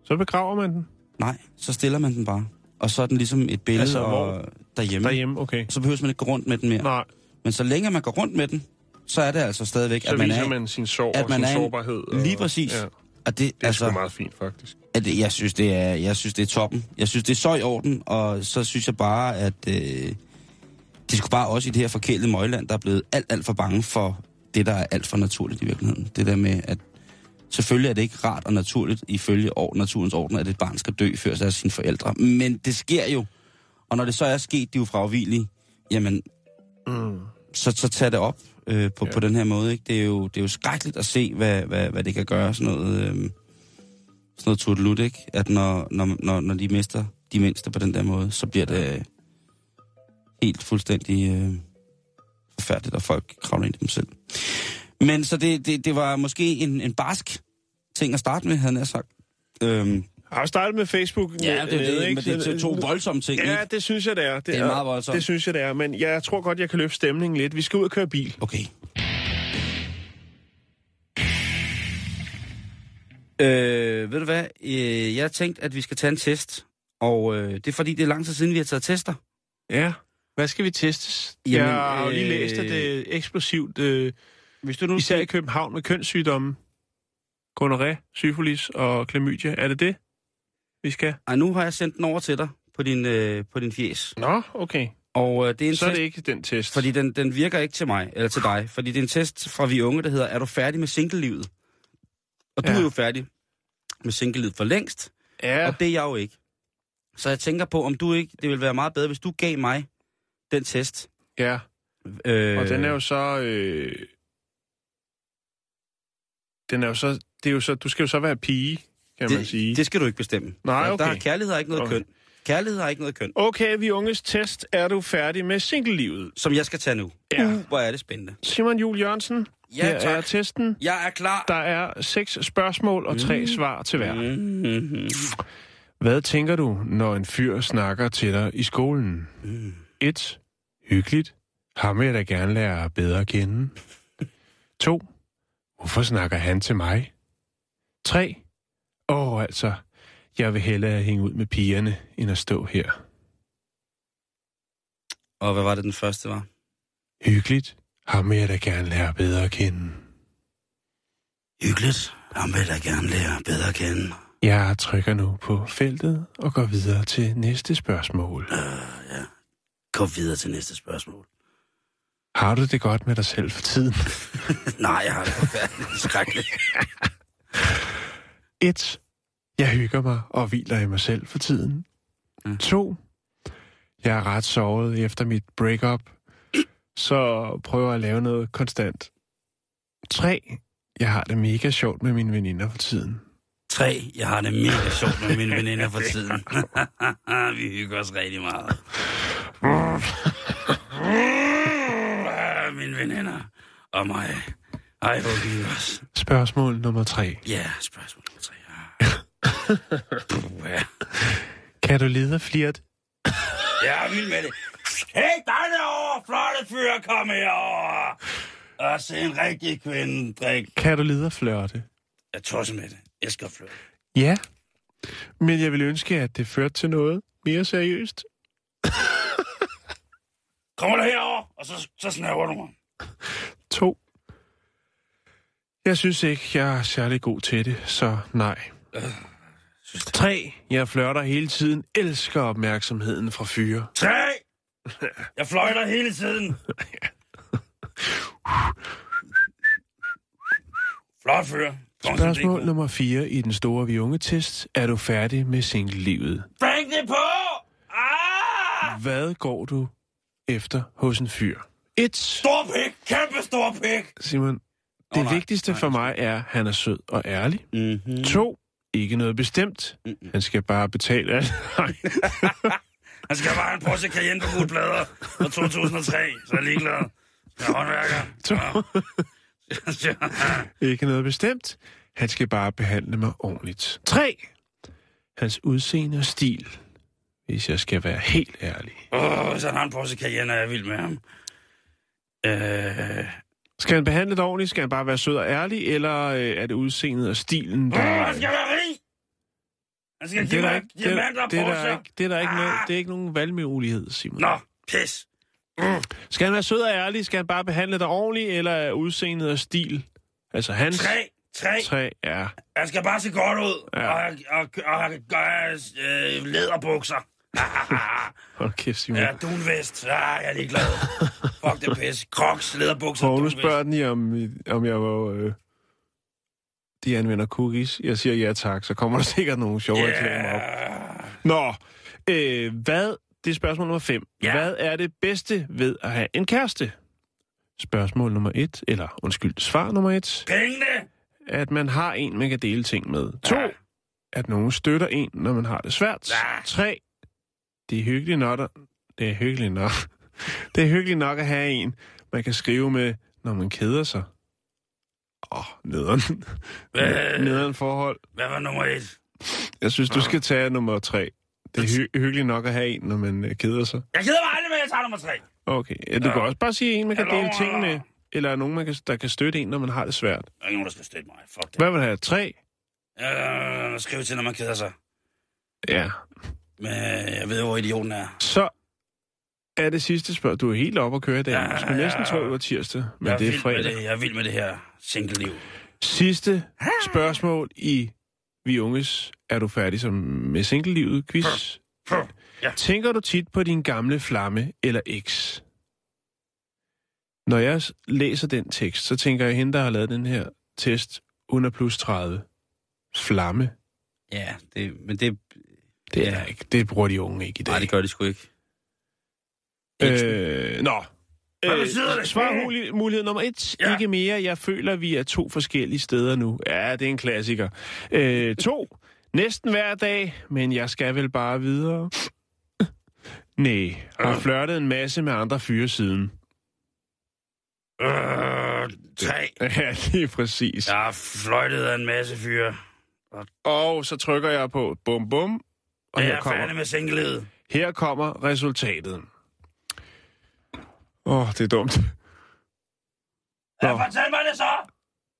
[SPEAKER 4] Så begraver man den
[SPEAKER 5] nej, så stiller man den bare. Og så er den ligesom et billede
[SPEAKER 4] Altså,
[SPEAKER 5] altså,
[SPEAKER 4] hvor-
[SPEAKER 5] og, derhjemme. derhjemme.
[SPEAKER 4] derhjemme, okay.
[SPEAKER 5] Så behøver man ikke gå rundt med den mere.
[SPEAKER 4] Nej,
[SPEAKER 5] Men så længe man går rundt med den, så er det altså stadigvæk,
[SPEAKER 4] så
[SPEAKER 5] at man
[SPEAKER 4] viser
[SPEAKER 5] er...
[SPEAKER 4] man sin sorg
[SPEAKER 5] at
[SPEAKER 4] og
[SPEAKER 5] man
[SPEAKER 4] sin
[SPEAKER 5] er en-
[SPEAKER 4] sårbarhed. Og,
[SPEAKER 5] Lige præcis.
[SPEAKER 4] Ja,
[SPEAKER 5] Ja. Og det,
[SPEAKER 4] det er altså...
[SPEAKER 5] altså,
[SPEAKER 4] sgu meget fint, faktisk.
[SPEAKER 5] at det- jeg synes, det er, jeg synes, det er toppen. Jeg synes, det er så i orden, og så synes jeg bare, at øh, de skulle bare også i det her forkælede møgland, der er blevet alt, alt for bange for det, der er alt for naturligt i virkeligheden. Det der med, at selvfølgelig er det ikke rart og naturligt ifølge or- naturens orden, at et barn skal dø før sig af sine forældre. Men det sker jo, og når det så er sket, de er jo fravigelige, jamen,
[SPEAKER 4] Mm.
[SPEAKER 5] så, så tag det op øh, på, ja. på den her måde. Ikke? Det, er jo, det er jo skrækkeligt at se, hvad, hvad, hvad det kan gøre, sådan noget, øh, sådan noget tuttelut, ikke? At når, når, når, når de mister de mindste på den der måde, så bliver det øh, helt fuldstændig øh, forfærdeligt, og folk kravler ind i dem selv. Men så det, det, det var måske en, en barsk ting at starte med, havde jeg nær sagt. Øhm,
[SPEAKER 4] Jeg har jo startet med Facebook.
[SPEAKER 5] ja, det, det,
[SPEAKER 4] nede,
[SPEAKER 5] det, men det er to- to voldsomme ting,
[SPEAKER 4] Ja,
[SPEAKER 5] ikke?
[SPEAKER 4] det synes jeg, det er. Det,
[SPEAKER 5] er meget voldsomt.
[SPEAKER 4] Det synes jeg, det er. Men jeg tror godt, jeg kan løfte stemningen lidt. Vi skal ud og køre bil.
[SPEAKER 5] Okay. Øh, ved du hvad? Øh, jeg har tænkt, at vi skal tage en test. Og øh, det er fordi, det er lang tid siden, vi har taget tester.
[SPEAKER 4] Ja. Hvad skal vi testes? Jamen,
[SPEAKER 5] Jamen,
[SPEAKER 4] jeg har jo lige
[SPEAKER 5] øh,
[SPEAKER 4] læst, at det er eksplosivt, øh,
[SPEAKER 5] Hvis du nu...
[SPEAKER 4] især i København med kønssygdomme. Gonoré, syfilis og klamydia. Er det det, vi skal?
[SPEAKER 5] Ej, nu har jeg sendt den over til dig på din, øh, på din fjes.
[SPEAKER 4] Nå, okay.
[SPEAKER 5] Og øh, det er en
[SPEAKER 4] Så er
[SPEAKER 5] test,
[SPEAKER 4] det ikke den test.
[SPEAKER 5] fordi den, den virker ikke til mig, eller til dig. Fordi det er en test fra vi unge, der hedder, er du færdig med singlelivet? Og du
[SPEAKER 4] Ja.
[SPEAKER 5] er jo færdig med singlelivet for længst.
[SPEAKER 4] Ja,
[SPEAKER 5] Og det er jeg jo ikke. Så jeg tænker på, om du ikke, det ville være meget bedre, hvis du gav mig den test.
[SPEAKER 4] ja.
[SPEAKER 5] Øh,
[SPEAKER 4] Og den er jo så... Øh, den er jo så... Det er jo så... Du skal jo så være pige, kan man
[SPEAKER 5] det,
[SPEAKER 4] sige.
[SPEAKER 5] Det skal du ikke bestemme.
[SPEAKER 4] Nej,
[SPEAKER 5] Der- Der,
[SPEAKER 4] okay.
[SPEAKER 5] kærlighed har ikke noget
[SPEAKER 4] Okay.
[SPEAKER 5] okay. køn. Kærlighed har ikke noget køn,
[SPEAKER 4] Okay, vi unges test. Er du færdig med singlelivet?
[SPEAKER 5] som jeg skal tage nu.
[SPEAKER 4] Ja.
[SPEAKER 5] Uh, hvor er det spændende.
[SPEAKER 4] Simon Jul Jørgensen,
[SPEAKER 5] Ja,
[SPEAKER 4] her er
[SPEAKER 5] tak.
[SPEAKER 4] testen.
[SPEAKER 5] Jeg er klar.
[SPEAKER 4] Der er seks spørgsmål og tre svar til hver.
[SPEAKER 5] Mm-hmm.
[SPEAKER 4] Hvad tænker du, når en fyr snakker til dig i skolen? 1. Hyggeligt. Ham vil jeg da gerne lære bedre at kende. 2. Hvorfor snakker han til mig? 3. Åh, oh, altså, jeg vil hellere hænge ud med pigerne, end at stå her.
[SPEAKER 5] Og hvad var det, den første var?
[SPEAKER 4] Hyggeligt. Ham vil jeg da gerne lære bedre at kende.
[SPEAKER 5] Hyggeligt. Ham vil jeg gerne lære bedre at kende.
[SPEAKER 4] Jeg trykker nu på feltet og går videre til næste spørgsmål.
[SPEAKER 5] Kom videre til næste spørgsmål.
[SPEAKER 4] Har du det godt med dig selv for tiden?
[SPEAKER 5] Nej, jeg har det forfærdeligt skrækkeligt.
[SPEAKER 4] 1. Jeg hygger mig og hviler i mig selv for tiden.
[SPEAKER 5] Mm.
[SPEAKER 4] 2. Jeg er ret såret efter mit breakup, så prøver at lave noget konstant. 3. Jeg har det mega sjovt med mine veninder for tiden.
[SPEAKER 5] Tre, jeg har det mega sjovt med mine veninder for tiden. Vi hygger os rigtig meget. Ah, mine veninder og mig. Ej, hvor hygger os.
[SPEAKER 4] Spørgsmål nummer 3.
[SPEAKER 5] Ja, spørgsmål nummer tre. Ah.
[SPEAKER 4] Kan du lide at flirt?
[SPEAKER 5] Ja, min med det. Hey, dig derovre, flotte fyre, kom herover. Og se en rigtig kvinde drikke.
[SPEAKER 4] Kan du lide at flirte?
[SPEAKER 5] Jeg tosser med det. Jeg skal flytte.
[SPEAKER 4] Ja. Men jeg ville ønske, at det førte til noget mere seriøst.
[SPEAKER 5] Kommer du herover, og så, så snæver du mig.
[SPEAKER 4] 2. Jeg synes ikke, jeg er særlig god til det, så nej. 3. Jeg flørter hele tiden, elsker opmærksomheden fra fyre.
[SPEAKER 5] Tre! Jeg fløjter hele tiden. Flot fyr. Kom, så det er
[SPEAKER 4] Spørgsmål
[SPEAKER 5] ikke-
[SPEAKER 4] nummer 4 i den store vi unge test. Er du færdig med singlelivet?
[SPEAKER 5] Bring det på! Ah!
[SPEAKER 4] Hvad går du efter hos en fyr? 1.
[SPEAKER 5] Stor pik! Kæmpe stor pik!
[SPEAKER 4] Simon. Det
[SPEAKER 5] Åh, nej.
[SPEAKER 4] vigtigste
[SPEAKER 5] Nej,
[SPEAKER 4] for
[SPEAKER 5] det
[SPEAKER 4] mig er, at han er sød og ærlig.
[SPEAKER 5] Mm-hmm.
[SPEAKER 4] 2. Ikke noget bestemt. Han skal bare betale alt. Nej.
[SPEAKER 5] Han skal bare have en Porsche Cayenne på gode plader fra 2003, så er jeg ligeglad. er håndværker.
[SPEAKER 4] Ikke noget bestemt. Han skal bare behandle mig ordentligt. 3. Hans udseende og stil. Hvis jeg skal være helt ærlig.
[SPEAKER 5] Åh, så har han på sig cayenne, og jeg er vild med ham. Øh,
[SPEAKER 4] Skal han behandle det ordentligt? Skal han bare være sød og ærlig? Eller øh, er det udseendet og stilen, der...
[SPEAKER 5] Åh, han skal være rig! Han skal
[SPEAKER 4] det,
[SPEAKER 5] give
[SPEAKER 4] er der
[SPEAKER 5] mig
[SPEAKER 4] ikke, det, er-
[SPEAKER 5] diamanter
[SPEAKER 4] det, er
[SPEAKER 5] på
[SPEAKER 4] der
[SPEAKER 5] sig. Ah.
[SPEAKER 4] ikke, det er der ikke noget, det er ikke nogen valgmulighed, Simon.
[SPEAKER 5] Nå, pis.
[SPEAKER 4] Skal han være sød og ærlig? Skal han bare behandle dig ordentligt? Eller er udseendet og stil? Altså hans...
[SPEAKER 5] Tre, tre.
[SPEAKER 4] Tre, ja.
[SPEAKER 5] Han skal bare se godt ud.
[SPEAKER 4] Ja.
[SPEAKER 5] Ja. Og, have- og, og, og gøre øh, læderbukser.
[SPEAKER 4] Hold kæft, Simon.
[SPEAKER 5] ja,
[SPEAKER 4] Ja.
[SPEAKER 5] dunvest. Ah, jeg er ligeglad. Fuck det pis. Crocs, læderbukser,
[SPEAKER 4] Magnus
[SPEAKER 5] dunvest.
[SPEAKER 4] spørger den, i, om, om jeg var... Øh, de anvender cookies. Jeg siger ja tak, så kommer der sikkert nogle sjove yeah. reklamer op.
[SPEAKER 5] Yeah.
[SPEAKER 4] Nå, øh, hvad, det er spørgsmål nummer 5.
[SPEAKER 5] Ja.
[SPEAKER 4] Hvad er det bedste ved at have en kæreste? Spørgsmål nummer 1, eller undskyld, svar nummer 1,
[SPEAKER 5] Pengene.
[SPEAKER 4] at man har en, man kan dele ting med. 2.
[SPEAKER 5] Ja.
[SPEAKER 4] At nogen støtter en, når man har det svært.
[SPEAKER 5] Ja.
[SPEAKER 4] 3. Det er hyggeligt nok, at- det er hyggeligt nok. Det er hyggeligt nok at have en, man kan skrive med, når man keder sig. Åh, oh, nederen.
[SPEAKER 5] Øh.
[SPEAKER 4] nederen forhold.
[SPEAKER 5] Hvad var nummer et?
[SPEAKER 4] Jeg synes, du skal tage nummer 3. Det er hy- hyggeligt nok at have en, når man øh, keder sig.
[SPEAKER 5] Jeg gider mig aldrig, men jeg tager nummer tre.
[SPEAKER 4] Okay. Ja, du ja. kan også bare sige en, man kan
[SPEAKER 5] Jeg
[SPEAKER 4] dele
[SPEAKER 5] lover.
[SPEAKER 4] ting med. Eller nogen, man kan, der kan støtte en, når man har det svært.
[SPEAKER 5] Der er ikke nogen, der skal støtte mig. Fuck det.
[SPEAKER 4] Hvad vil du have? Tre?
[SPEAKER 5] Øh, skriv til, når man keder sig.
[SPEAKER 4] Ja.
[SPEAKER 5] Men øh, jeg ved, hvor idioten er.
[SPEAKER 4] Så er det sidste spørgsmål. Du er helt oppe at køre i dag. Jeg skulle næsten tro, det var tirsdag, men
[SPEAKER 5] jeg
[SPEAKER 4] det er
[SPEAKER 5] vild
[SPEAKER 4] fredag.
[SPEAKER 5] Med det. Jeg er vild med det her single-liv.
[SPEAKER 4] Sidste spørgsmål i Vi Unges Er du færdig som med single-livet quiz?
[SPEAKER 5] Ja.
[SPEAKER 4] Tænker du tit på din gamle flamme eller eks? Når jeg s- læser den tekst, så tænker jeg, hende, der har lavet den her test, under plus 30. Flamme.
[SPEAKER 5] Ja, det, men det,
[SPEAKER 4] Det er ikke. Det bruger de unge ikke i dag.
[SPEAKER 5] nej, det gør det sgu ikke.
[SPEAKER 4] Øh, nå.
[SPEAKER 5] Hvad betyder det?
[SPEAKER 4] Svarmulighed mulighed nummer et. Ja.
[SPEAKER 5] Ja.
[SPEAKER 4] Ikke mere. Jeg føler, vi er to forskellige steder nu. Ja, det er en klassiker. Øh, to. Næsten hver dag, men jeg skal vel bare videre. Nej, har flørtet en masse med andre fyre siden.
[SPEAKER 5] Øh, tre.
[SPEAKER 4] Ja, lige præcis. Ja.
[SPEAKER 5] Jeg har fløjtet af en masse fyre.
[SPEAKER 4] Og så trykker jeg på bum bum, og
[SPEAKER 5] Og jeg
[SPEAKER 4] her
[SPEAKER 5] er færdig
[SPEAKER 4] kommer,
[SPEAKER 5] med single
[SPEAKER 4] her kommer resultatet. Åh, oh, det er dumt.
[SPEAKER 5] Ja,
[SPEAKER 4] Nå.
[SPEAKER 5] fortæl mig det så!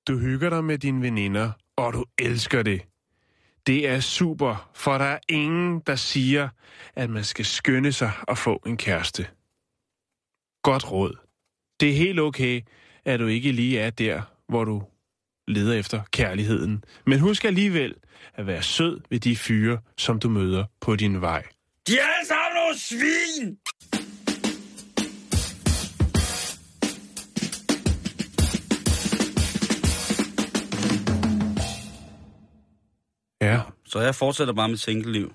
[SPEAKER 4] Du hygger dig med dine veninder, og du elsker det. Det er super, for der er ingen, der siger, at man skal skynde sig og få en kæreste. Godt råd. Det er helt okay, at du ikke lige er der, hvor du leder efter kærligheden. Men husk alligevel at være sød ved de fyre, som du møder på din vej.
[SPEAKER 5] De er alle sammen nogle svin!
[SPEAKER 4] Ja,
[SPEAKER 5] Så jeg fortsætter bare mit single-liv.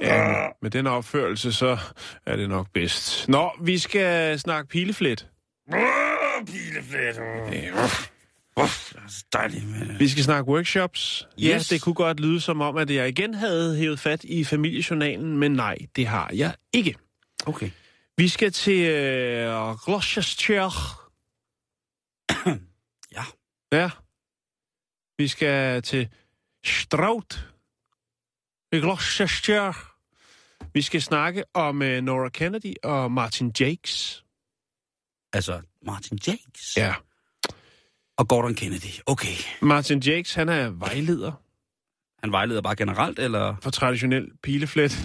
[SPEAKER 4] ja med, med den opførelse, så er det nok bedst. Nå, vi skal snakke pileflet.
[SPEAKER 5] Åh, pileflet.
[SPEAKER 4] Ja.
[SPEAKER 5] Uff, det er så dejligt med
[SPEAKER 4] Vi skal snakke workshops. Ja, yes.
[SPEAKER 5] Yes.
[SPEAKER 4] det kunne godt lyde som om, at jeg igen havde hævet fat i familiejournalen, men nej, det har jeg ikke.
[SPEAKER 5] Okay.
[SPEAKER 4] Vi skal til øh, Gloucestershire.
[SPEAKER 5] Ja.
[SPEAKER 4] Ja. Vi skal til Stroud i Gloucestershire. Vi skal snakke om øh, Nora Kennedy og Martin Jakes.
[SPEAKER 5] Altså, Martin Jakes.
[SPEAKER 4] Ja.
[SPEAKER 5] Og Gordon Kennedy. Okay.
[SPEAKER 4] Martin Jakes, han er vejleder
[SPEAKER 5] Han vejleder bare generelt, eller?
[SPEAKER 4] for traditionel pileflet.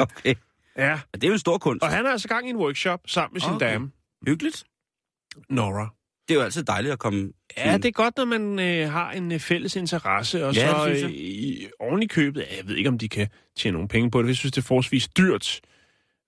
[SPEAKER 5] Okay.
[SPEAKER 4] Ja.
[SPEAKER 5] Det er jo en stor kunst.
[SPEAKER 4] Og han er altså gang i en workshop sammen med sin okay.
[SPEAKER 5] Okay.
[SPEAKER 4] dame,
[SPEAKER 5] Hyggeligt.
[SPEAKER 4] Nora. Mm.
[SPEAKER 5] Det er jo altid dejligt at komme...
[SPEAKER 4] Ja, det er godt, når man øh, har en øh, fælles interesse, og
[SPEAKER 5] Ja,
[SPEAKER 4] så
[SPEAKER 5] det synes
[SPEAKER 4] øh,
[SPEAKER 5] jeg.
[SPEAKER 4] i, oven i købet, ja, jeg ved ikke, om de kan tjene nogle penge på det, jeg synes, det er forholdsvis dyrt,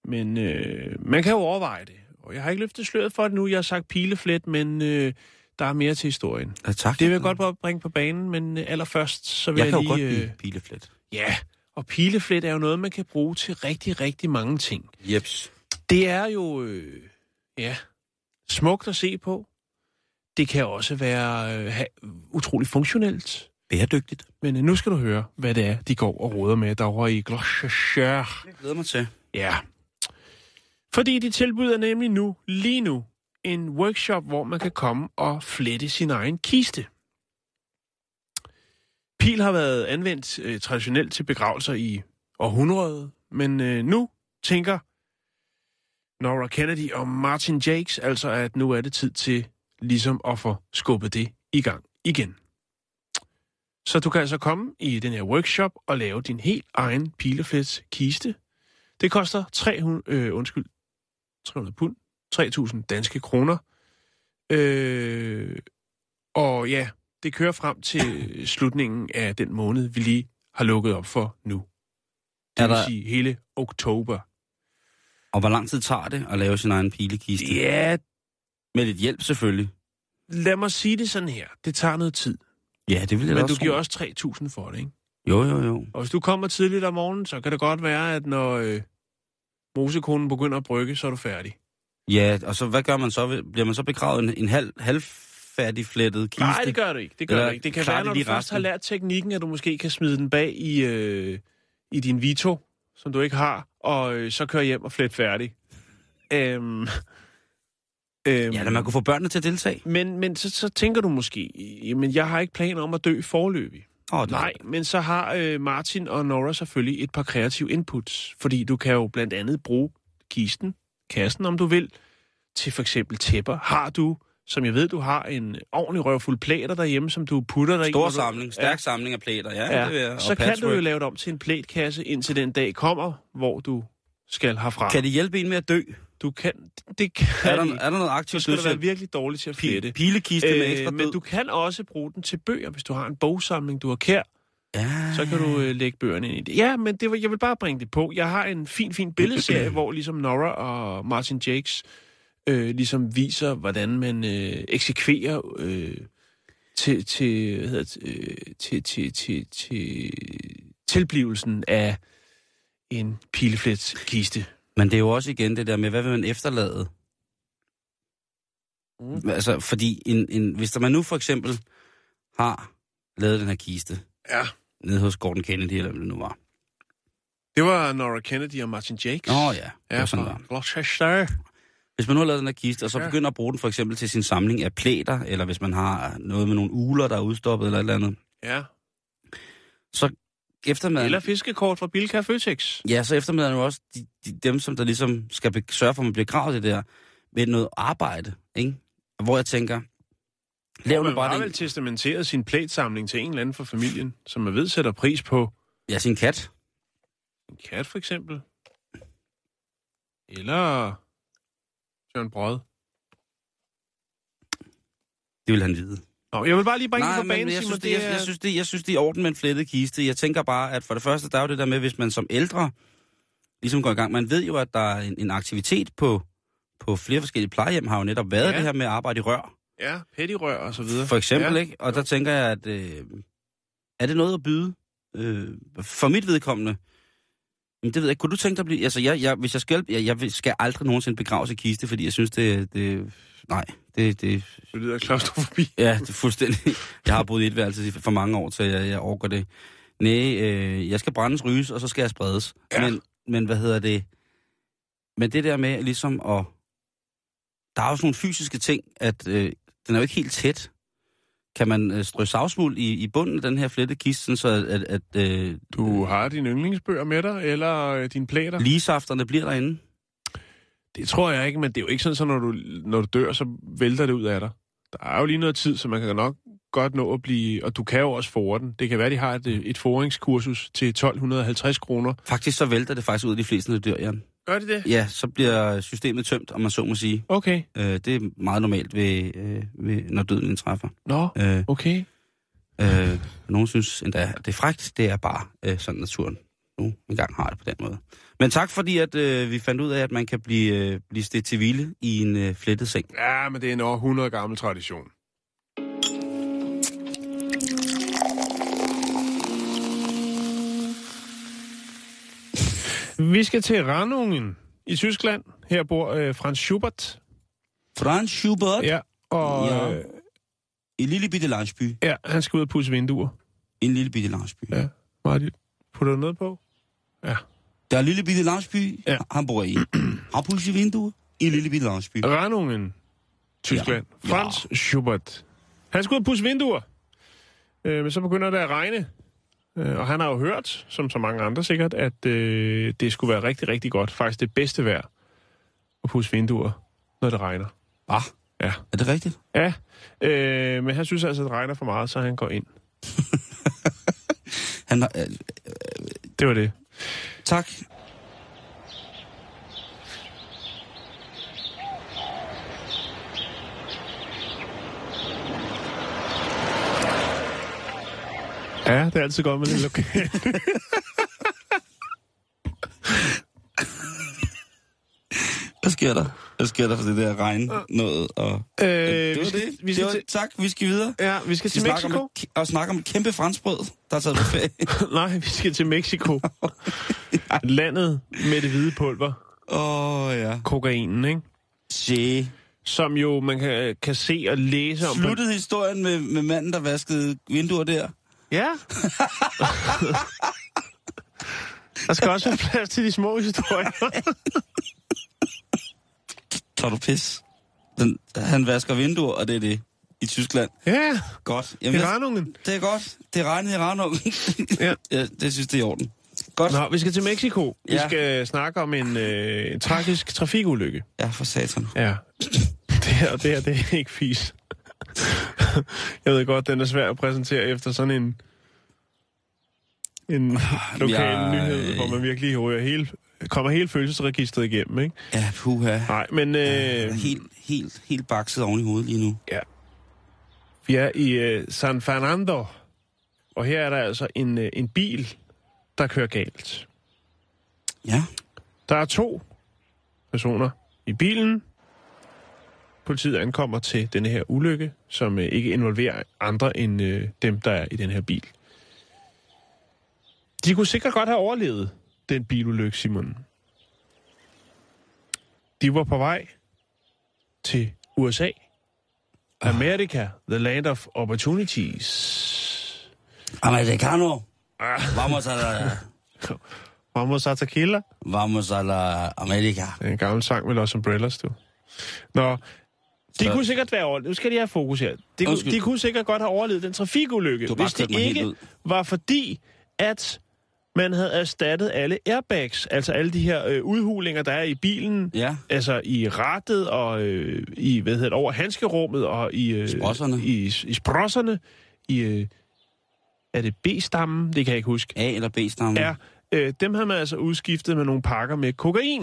[SPEAKER 4] men øh, man kan jo overveje det, og jeg har ikke løftet sløret for det nu, jeg har sagt pileflet, men øh, der er mere til historien.
[SPEAKER 5] Ja, tak.
[SPEAKER 4] Det vil jeg godt bare bringe på banen, men øh, allerførst, så vil
[SPEAKER 5] Jeg
[SPEAKER 4] jeg,
[SPEAKER 5] kan jo
[SPEAKER 4] lige... øh,
[SPEAKER 5] godt lide pileflet.
[SPEAKER 4] ja, og pileflet er jo noget, man kan bruge til rigtig, rigtig mange ting.
[SPEAKER 5] Jeps.
[SPEAKER 4] Det er jo, øh, ja, smukt at se på. Det kan også være øh, ha, utrolig funktionelt.
[SPEAKER 5] Bæredygtigt.
[SPEAKER 4] Men øh, nu skal du høre, hvad det er, de går og råder med derovre i Gloucestershire.
[SPEAKER 5] Det glæder mig til.
[SPEAKER 4] Ja. Fordi de tilbyder nemlig nu, lige nu, en workshop, hvor man kan komme og flette sin egen kiste. Pil har været anvendt øh, traditionelt til begravelser i århundredet, men øh, nu tænker Nora Kennedy og Martin Jakes altså, at nu er det tid til ligesom at få skubbet det i gang igen. Så du kan altså komme i den her workshop og lave din helt egen pileflets kiste. Det koster 300, øh, undskyld, 300 pund, 3.000 danske kroner. Øh, og ja, det kører frem til slutningen af den måned, vi lige har lukket op for nu. Det
[SPEAKER 5] Er
[SPEAKER 4] vil
[SPEAKER 5] der-
[SPEAKER 4] sige hele oktober.
[SPEAKER 5] Og hvor lang tid tager det at lave sin egen pilekiste?
[SPEAKER 4] Ja,
[SPEAKER 5] Med lidt hjælp selvfølgelig.
[SPEAKER 4] lad mig sige det sådan her. Det tager noget tid.
[SPEAKER 5] Ja, det vil jeg da
[SPEAKER 4] Men du
[SPEAKER 5] også
[SPEAKER 4] giver
[SPEAKER 5] tro.
[SPEAKER 4] også 3.000 for det, ikke?
[SPEAKER 5] Jo, jo, jo.
[SPEAKER 4] Og hvis du kommer tidligt om morgenen, så kan det godt være, at når øh, mosekonen begynder at brygge, så er du færdig.
[SPEAKER 5] Ja, og så hvad gør man så? Bliver man så begravet en, en halv, halvfærdigflettet kiste?
[SPEAKER 4] Nej, det gør du ikke. Det, gør
[SPEAKER 5] Eller
[SPEAKER 4] du ikke. det kan
[SPEAKER 5] klarer
[SPEAKER 4] være,
[SPEAKER 5] de
[SPEAKER 4] når du
[SPEAKER 5] lige
[SPEAKER 4] først
[SPEAKER 5] resten?
[SPEAKER 4] har lært teknikken, at du måske kan smide den bag i, øh, i din Vito, som du ikke har, og øh, så kører hjem og flet færdig. Øhm, øhm,
[SPEAKER 5] Ja, eller man kunne få børnene til at deltage.
[SPEAKER 4] Men, men så, så tænker du måske, jamen jeg har ikke planer om at dø forløbig.
[SPEAKER 5] Åh, det-
[SPEAKER 4] Nej, men så har øh, Martin og Nora selvfølgelig et par kreative inputs, fordi du kan jo blandt andet bruge kisten, kassen om du vil, til for eksempel tæpper. Har du, som jeg ved, du har en ordentlig røvfuld plader derhjemme, som du putter dig i. når
[SPEAKER 5] Stor
[SPEAKER 4] du-
[SPEAKER 5] samling, stærk samling af plader. Ja,
[SPEAKER 4] Ja,
[SPEAKER 5] det vil jeg.
[SPEAKER 4] ja.
[SPEAKER 5] Og
[SPEAKER 4] Så kan du jo
[SPEAKER 5] patchwork.
[SPEAKER 4] lave det om til en plætkasse, indtil den dag kommer, hvor du skal herfra.
[SPEAKER 5] Kan det hjælpe en med at dø?
[SPEAKER 4] Du kan, det kan
[SPEAKER 5] Er der, er der noget
[SPEAKER 4] så
[SPEAKER 5] aktivt
[SPEAKER 4] skal du være
[SPEAKER 5] dødshjælp?
[SPEAKER 4] virkelig dårlig til at flette.
[SPEAKER 5] Pi- Pilekiste med ekstra
[SPEAKER 4] Øh, men
[SPEAKER 5] død?
[SPEAKER 4] du kan også bruge den til bøger, hvis du har en bogsamling, du har kær,
[SPEAKER 5] Ja.
[SPEAKER 4] så kan
[SPEAKER 5] Ah.
[SPEAKER 4] du øh, lægge bøgerne ind i det. Ja, men det var, jeg vil bare bringe det på. Jeg har en fin, fin billedserie, hvor ligesom Nora og Martin Jakes øh, ligesom viser, hvordan man øh, eksekverer øh, til, til, hvad hedder, det, øh, til, til, til, til tilblivelsen af en pilefletskiste.
[SPEAKER 5] Men det er jo også igen det der med, hvad vil man efterlade?
[SPEAKER 4] Mm.
[SPEAKER 5] Mm. Altså, fordi en, en, hvis der man nu for eksempel har lavet den her kiste
[SPEAKER 4] Ja.
[SPEAKER 5] nede hos Gordon Kennedy, eller hvad det nu var.
[SPEAKER 4] Det var Nora Kennedy og Martin Jakes.
[SPEAKER 5] Nå ja, det
[SPEAKER 4] Ja,
[SPEAKER 5] var sådan
[SPEAKER 4] fra
[SPEAKER 5] der.
[SPEAKER 4] Gloucester.
[SPEAKER 5] Hvis man nu har lavet den her kiste, og så
[SPEAKER 4] Ja.
[SPEAKER 5] begynder at bruge den for eksempel til sin samling af plæter, eller hvis man har noget med nogle uler, der er udstoppet eller et eller andet,
[SPEAKER 4] Ja.
[SPEAKER 5] så eftermiddagen...
[SPEAKER 4] Eller fiskekort fra Bilka Føtex.
[SPEAKER 5] Ja, så eftermiddagen er jo også de, de, dem, som der ligesom skal be, sørge for, at man bliver gravet i det der, med noget arbejde, ikke? Og Hvor jeg tænker, lav nu
[SPEAKER 4] Man
[SPEAKER 5] bare
[SPEAKER 4] har
[SPEAKER 5] det,
[SPEAKER 4] vel testamenteret sin plætsamling til en eller anden fra familien, som man ved sætter pris på.
[SPEAKER 5] ja, sin kat.
[SPEAKER 4] En kat for eksempel. Eller Søren Brød.
[SPEAKER 5] Det vil han vide.
[SPEAKER 4] Nå, jeg vil bare lige bringe
[SPEAKER 5] Nej,
[SPEAKER 4] det på
[SPEAKER 5] men
[SPEAKER 4] banen,
[SPEAKER 5] jeg,
[SPEAKER 4] Simon.
[SPEAKER 5] synes, det, jeg,
[SPEAKER 4] Det er...
[SPEAKER 5] jeg, synes, det, jeg synes, det er i orden med en flettet kiste. Jeg tænker bare, at for det første, der er jo det der med, hvis man som ældre ligesom går i gang. Man ved jo, at der er en, en aktivitet på, på flere forskellige plejehjem, har jo netop været
[SPEAKER 4] Ja.
[SPEAKER 5] ja. det her med at arbejde i rør.
[SPEAKER 4] Ja, pettirør og så videre.
[SPEAKER 5] For eksempel,
[SPEAKER 4] ja.
[SPEAKER 5] ikke? Og der tænker jeg, at øh, er det noget at byde? Øh, for mit vedkommende, men det ved jeg ikke. Kunne du tænke dig at blive... Altså, jeg, jeg, hvis jeg skal... Jeg, jeg vil- skal aldrig nogensinde begraves i kiste, fordi jeg synes, det... det nej, det, det...
[SPEAKER 4] Det lyder klaustrofobi.
[SPEAKER 5] Ja, det er fuldstændig... Jeg har boet i et værelse i for mange år, så jeg, jeg overgår det. Nej, øh, jeg skal brændes, ryges, og så skal jeg spredes.
[SPEAKER 4] Ja.
[SPEAKER 5] Men, men hvad hedder det? Men det der med ligesom at... Der er også nogle fysiske ting, at øh, den er jo ikke helt tæt. Kan man øh, strø savsmuld i, i bunden af den her flettekiste, sådan så at, at øh,
[SPEAKER 4] Du har dine yndlingsbøger med dig, eller øh, dine plæter?
[SPEAKER 5] ligesafterne bliver derinde?
[SPEAKER 4] Det tror jeg ikke, men det er jo ikke sådan, så når du, når du dør, så vælter det ud af dig. Der er jo lige noget tid, så man kan nok godt nå at blive... Og du kan jo også fore den. Det kan være, de har et, øh, et foringskursus til 1250 kroner.
[SPEAKER 5] Faktisk så vælter det faktisk ud af de fleste, når de dør, Jan.
[SPEAKER 4] Gør det det?
[SPEAKER 5] Ja, så bliver systemet tømt, om man så må sige.
[SPEAKER 4] Okay.
[SPEAKER 5] Øh, det er meget normalt, ved, øh, ved, når døden indtræffer.
[SPEAKER 4] Nå,
[SPEAKER 5] Øh,
[SPEAKER 4] okay.
[SPEAKER 5] Øh, nogen synes endda, at det er frækt. Det er bare øh, sådan naturen nu engang har det på den måde. Men tak fordi, at øh, vi fandt ud af, at man kan blive, øh, blive stedt til hvile i en øh, flettet seng.
[SPEAKER 4] Ja, men det er en over 100 gammel tradition. Vi skal til Ranungen i Tyskland. Her bor øh, Franz Schubert.
[SPEAKER 5] Franz Schubert ja.
[SPEAKER 4] Ja, og
[SPEAKER 5] Ja.
[SPEAKER 4] øh,
[SPEAKER 5] i en lille bitte landsby.
[SPEAKER 4] ja, han skal ud og pudse vinduer.
[SPEAKER 5] En lille bitte landsby.
[SPEAKER 4] Ja.
[SPEAKER 5] Ja.
[SPEAKER 4] Martin, putter du noget på? Ja.
[SPEAKER 5] Der er en lille bitte landsby,
[SPEAKER 4] Ja.
[SPEAKER 5] ja. han bor i. Han pusser vinduer i en lille bitte landsby.
[SPEAKER 4] Ranungen, Tyskland.
[SPEAKER 5] Ja.
[SPEAKER 4] Ja. Franz Schubert. Han skulle ud og pusse vinduer, øh, men så begynder det at regne. Øh, Og han har jo hørt, som så mange andre sikkert, at øh, det skulle være rigtig, rigtig godt. Faktisk det bedste vejr at pusse vinduer, når det regner.
[SPEAKER 5] Ah,
[SPEAKER 4] Ja.
[SPEAKER 5] er det rigtigt?
[SPEAKER 4] Ja, øh, men han synes altså, at det regner for meget, så han går ind.
[SPEAKER 5] Han har, øh,
[SPEAKER 4] Det var det.
[SPEAKER 5] tak.
[SPEAKER 4] Ja, det er altid godt med det lokale.
[SPEAKER 5] Hvad sker der? Hvad sker der for det der regn noget? Og...
[SPEAKER 4] Øh,
[SPEAKER 5] det
[SPEAKER 4] vi
[SPEAKER 5] var
[SPEAKER 4] skal-
[SPEAKER 5] det.
[SPEAKER 4] vi skal
[SPEAKER 5] Vi skal det var,
[SPEAKER 4] til-
[SPEAKER 5] tak, vi skal videre.
[SPEAKER 4] ja, vi skal
[SPEAKER 5] Vi
[SPEAKER 4] til
[SPEAKER 5] snakker om
[SPEAKER 4] Mexico.
[SPEAKER 5] et, ke- og snakker om et kæmpe franskbrød, der er taget på ferie.
[SPEAKER 4] Nej, vi skal til Mexico. Landet med det hvide pulver,
[SPEAKER 5] Åh, oh, ja.
[SPEAKER 4] kokainen, ikke?
[SPEAKER 5] Se.
[SPEAKER 4] som jo man kan, kan se og læse om. på-
[SPEAKER 5] Sluttede historien med, med manden, der vaskede vinduer der?
[SPEAKER 4] Ja. der skal også være plads til de små historier.
[SPEAKER 5] Tager du pis? Den, han vasker vinduer, og det er det. I Tyskland.
[SPEAKER 4] ja,
[SPEAKER 5] Godt.
[SPEAKER 4] i
[SPEAKER 5] Jamen, jeg,
[SPEAKER 4] Ranungen.
[SPEAKER 5] det er godt. Det regnede i Ranum.
[SPEAKER 4] Ja.
[SPEAKER 5] ja. det synes det er i orden. Godt.
[SPEAKER 4] Nå, vi skal til Mexico. Vi
[SPEAKER 5] Ja.
[SPEAKER 4] skal snakke om en, øh, en tragisk trafikulykke.
[SPEAKER 5] Ja, for satan.
[SPEAKER 4] Ja. Det her, det her, det er ikke fis. Jeg ved godt, den er svær at præsentere efter sådan en en lokal
[SPEAKER 5] Jeg-
[SPEAKER 4] nyhed, hvor man virkelig hører hele, kommer hele følelsesregistret igennem, ikke?
[SPEAKER 5] Ja, puha.
[SPEAKER 4] Nej, men øh,
[SPEAKER 5] Øh, helt, helt, helt bakset oven i hovedet lige nu.
[SPEAKER 4] vi er i øh, San Fernando, og her er der altså en, øh, en bil, der kører galt.
[SPEAKER 5] Ja.
[SPEAKER 4] Der er to personer i bilen. Politiet ankommer til denne her ulykke, som øh, ikke involverer andre end øh, dem, der er i den her bil. De kunne sikkert godt have overlevet den bilulykke, Simon. De var på vej til USA. America, the land of opportunities.
[SPEAKER 5] Americano.
[SPEAKER 4] Ah.
[SPEAKER 5] Vamos a la...
[SPEAKER 4] Vamos a tequila.
[SPEAKER 5] Vamos a la America.
[SPEAKER 4] Det er en gammel sang med Los Umbrellas, du. Nå, de
[SPEAKER 5] Så-
[SPEAKER 4] kunne sikkert være overlevet. Nu skal de have fokus her. De, kunne,
[SPEAKER 5] Undskyld.
[SPEAKER 4] de kunne sikkert godt have overlevet den trafikulykke,
[SPEAKER 5] Du har bare
[SPEAKER 4] hvis det
[SPEAKER 5] kørt mig helt
[SPEAKER 4] ikke
[SPEAKER 5] ud.
[SPEAKER 4] var fordi, at man havde erstattet alle airbags, altså alle de her øh, udhulinger, der er i bilen,
[SPEAKER 5] Ja.
[SPEAKER 4] altså i rattet og øh, i, hvad hedder det, over handskerummet og i... Øh,
[SPEAKER 5] Sprosserne.
[SPEAKER 4] I, i sprosserne. I, øh, er det B-stammen? Det kan jeg ikke huske
[SPEAKER 5] A eller B-stammen.
[SPEAKER 4] er, øh, dem havde man altså udskiftet med nogle pakker med kokain.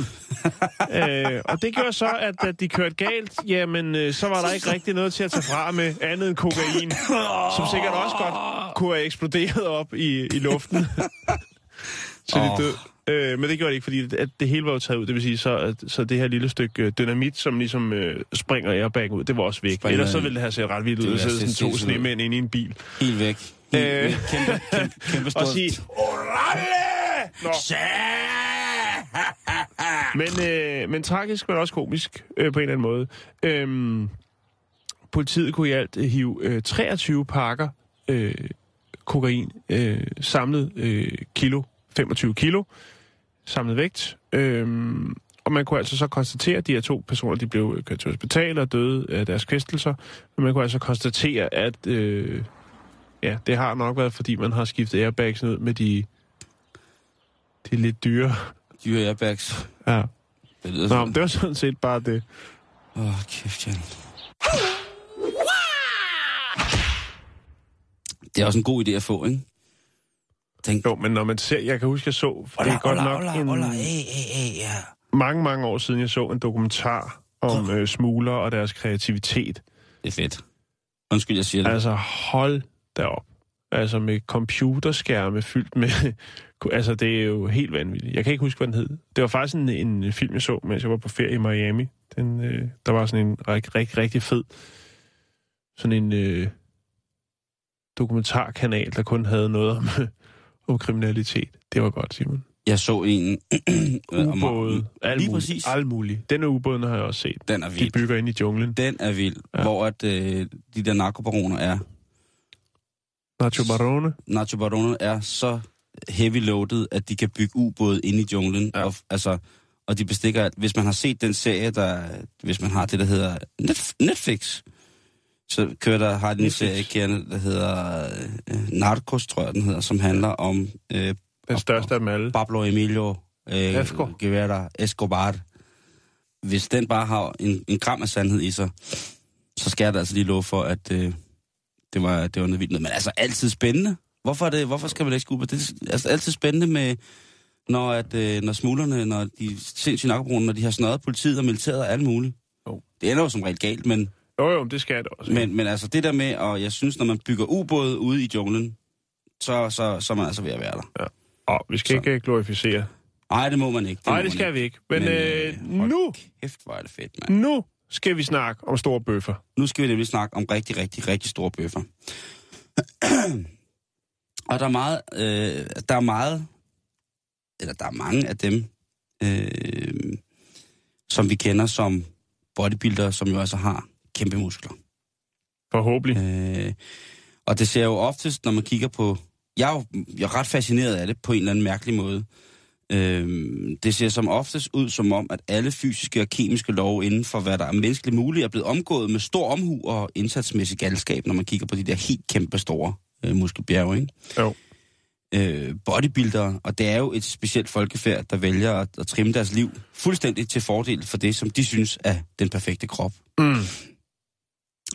[SPEAKER 4] øh, og det gjorde så, at da de kørte galt, jamen, øh, så var der ikke rigtig noget til at tage fra med andet end kokain, som sikkert også godt kunne have eksploderet op i, i luften. så de
[SPEAKER 5] Åh.
[SPEAKER 4] død. Øh, men det gjorde det ikke, fordi det, at det hele var jo taget ud. Det vil sige, så, at, så det her lille stykke øh, dynamit, som ligesom øh, springer airbag ud, det var også væk.
[SPEAKER 5] Springer-
[SPEAKER 4] Ellers så ville det have set ret vildt
[SPEAKER 5] Det
[SPEAKER 4] ud,
[SPEAKER 5] ville
[SPEAKER 4] at
[SPEAKER 5] have
[SPEAKER 4] sidde
[SPEAKER 5] set
[SPEAKER 4] sådan to
[SPEAKER 5] sindssygt ud.
[SPEAKER 4] snemænd inde i en bil.
[SPEAKER 5] Helt væk. Helt
[SPEAKER 4] Øh.
[SPEAKER 5] øh. væk. Kæmpe, kæmpe, kæmpe stort.
[SPEAKER 4] Og sige,
[SPEAKER 5] Orale!
[SPEAKER 4] Nå. Men, øh, men tragisk, men også komisk øh, på en eller anden måde. Øhm, politiet kunne i alt øh, hive øh, 23 pakker øh, kokain, øh, samlet øh, kilo, 25 kilo, samlet vægt. Øhm, og man kunne altså så konstatere, at de her to personer de blev kørt til hospital og døde af deres kvæstelser. Men man kunne altså konstatere, at øh, ja, det har nok været, fordi man har skiftet airbags ud med de, de lidt dyre.
[SPEAKER 5] Dyre airbags.
[SPEAKER 4] Ja.
[SPEAKER 5] Det lyder
[SPEAKER 4] Nå,
[SPEAKER 5] sådan.
[SPEAKER 4] men det var sådan set bare det.
[SPEAKER 5] Åh, oh, kæft, Jan. Det er også en god idé at få, ikke? Tænk,
[SPEAKER 4] Jo, men når man ser, jeg kan huske, jeg så, for det er
[SPEAKER 5] Ola,
[SPEAKER 4] godt
[SPEAKER 5] Ola,
[SPEAKER 4] nok
[SPEAKER 5] Ola,
[SPEAKER 4] en,
[SPEAKER 5] Ola, hey, hey, hey, ja.
[SPEAKER 4] mange, mange år siden, jeg så en dokumentar om øh, smugler og deres kreativitet.
[SPEAKER 5] Det er fedt. Undskyld, jeg siger det.
[SPEAKER 4] Altså, hold da op. Altså med computerskærme fyldt med... Altså, det er jo helt vanvittigt. Jeg kan ikke huske, hvad den hed. Det var faktisk en, en film, jeg så, mens jeg var på ferie i Miami. Den, øh, der var sådan en rigtig, rigtig, rigtig fed... Sådan en øh, dokumentarkanal, der kun havde noget om, om kriminalitet. Det var godt, Simon.
[SPEAKER 5] Jeg så en... øh, om-
[SPEAKER 4] Ubåde. Alt
[SPEAKER 5] Lige
[SPEAKER 4] muligt.
[SPEAKER 5] præcis.
[SPEAKER 4] Alt muligt. Den ubåden har jeg også set.
[SPEAKER 5] Den er
[SPEAKER 4] De
[SPEAKER 5] vild.
[SPEAKER 4] bygger ind i junglen.
[SPEAKER 5] Den er vild.
[SPEAKER 4] Ja.
[SPEAKER 5] Ja. Hvor at, øh, de der narkobaroner er...
[SPEAKER 4] Nacho Barone.
[SPEAKER 5] Nacho Baroner er så heavy loaded, at de kan bygge ubåde inde i junglen. Ja. Og, f- altså, og de bestikker alt. Hvis man har set den serie, der, hvis man har det, der hedder Netf- Netflix, så kører der, har de en serie, Kjerne, der hedder øh, Narcos, tror jeg, den hedder, som handler om øh,
[SPEAKER 4] Den største af dem alle.
[SPEAKER 5] Pablo Emilio øh,
[SPEAKER 4] Esco.
[SPEAKER 5] Guevara Escobar. Hvis den bare har en, en gram af sandhed i sig, så skal jeg da altså lige love for, at øh, det, var, det var noget vildt noget. Men altså altid spændende. Hvorfor, er det, hvorfor skal man ikke skubbe? Det er altså, altid spændende med, når, at, øh, når smuglerne, når de sindssyge narkobrugerne, når de har snøret politiet og militæret og alt muligt.
[SPEAKER 4] Jo.
[SPEAKER 5] Det ender jo som regel galt, men,
[SPEAKER 4] Jo, jo, men det skal jeg da også.
[SPEAKER 5] men, men altså det der med, og jeg synes, når man bygger ubåde ude i junglen, så, så, så er man altså ved at være der.
[SPEAKER 4] Åh, vi skal ikke øh, glorificere.
[SPEAKER 5] Nej, det må man ikke.
[SPEAKER 4] Nej,
[SPEAKER 5] må
[SPEAKER 4] det
[SPEAKER 5] man
[SPEAKER 4] skal vi ikke. Men, øh,
[SPEAKER 5] hold
[SPEAKER 4] nu,
[SPEAKER 5] Kæft, hvor er det fedt, mand.
[SPEAKER 4] nu skal vi snakke om store bøffer.
[SPEAKER 5] Nu skal vi nemlig snakke om rigtig, rigtig, rigtig store bøffer. og der er meget, øh, der er meget, eller der er mange af dem, øh, som vi kender som bodybuildere, som jo altså har kæmpe muskler.
[SPEAKER 4] Forhåbentlig.
[SPEAKER 5] Øh, og det ser jo oftest, når man kigger på... Jeg er jo jeg er ret fascineret af det på en eller anden mærkelig måde. Øh, det ser som oftest ud som om, at alle fysiske og kemiske love inden for, hvad der er menneskeligt muligt, er blevet omgået med stor omhu og indsatsmæssig galskab, når man kigger på de der helt kæmpe store øh, muskelbjerge, ikke?
[SPEAKER 4] Jo.
[SPEAKER 5] Øh, bodybuildere, og det er jo et specielt folkefærd, der vælger at, at trimme deres liv fuldstændig til fordel for det, som de synes er den perfekte krop.
[SPEAKER 4] Mm.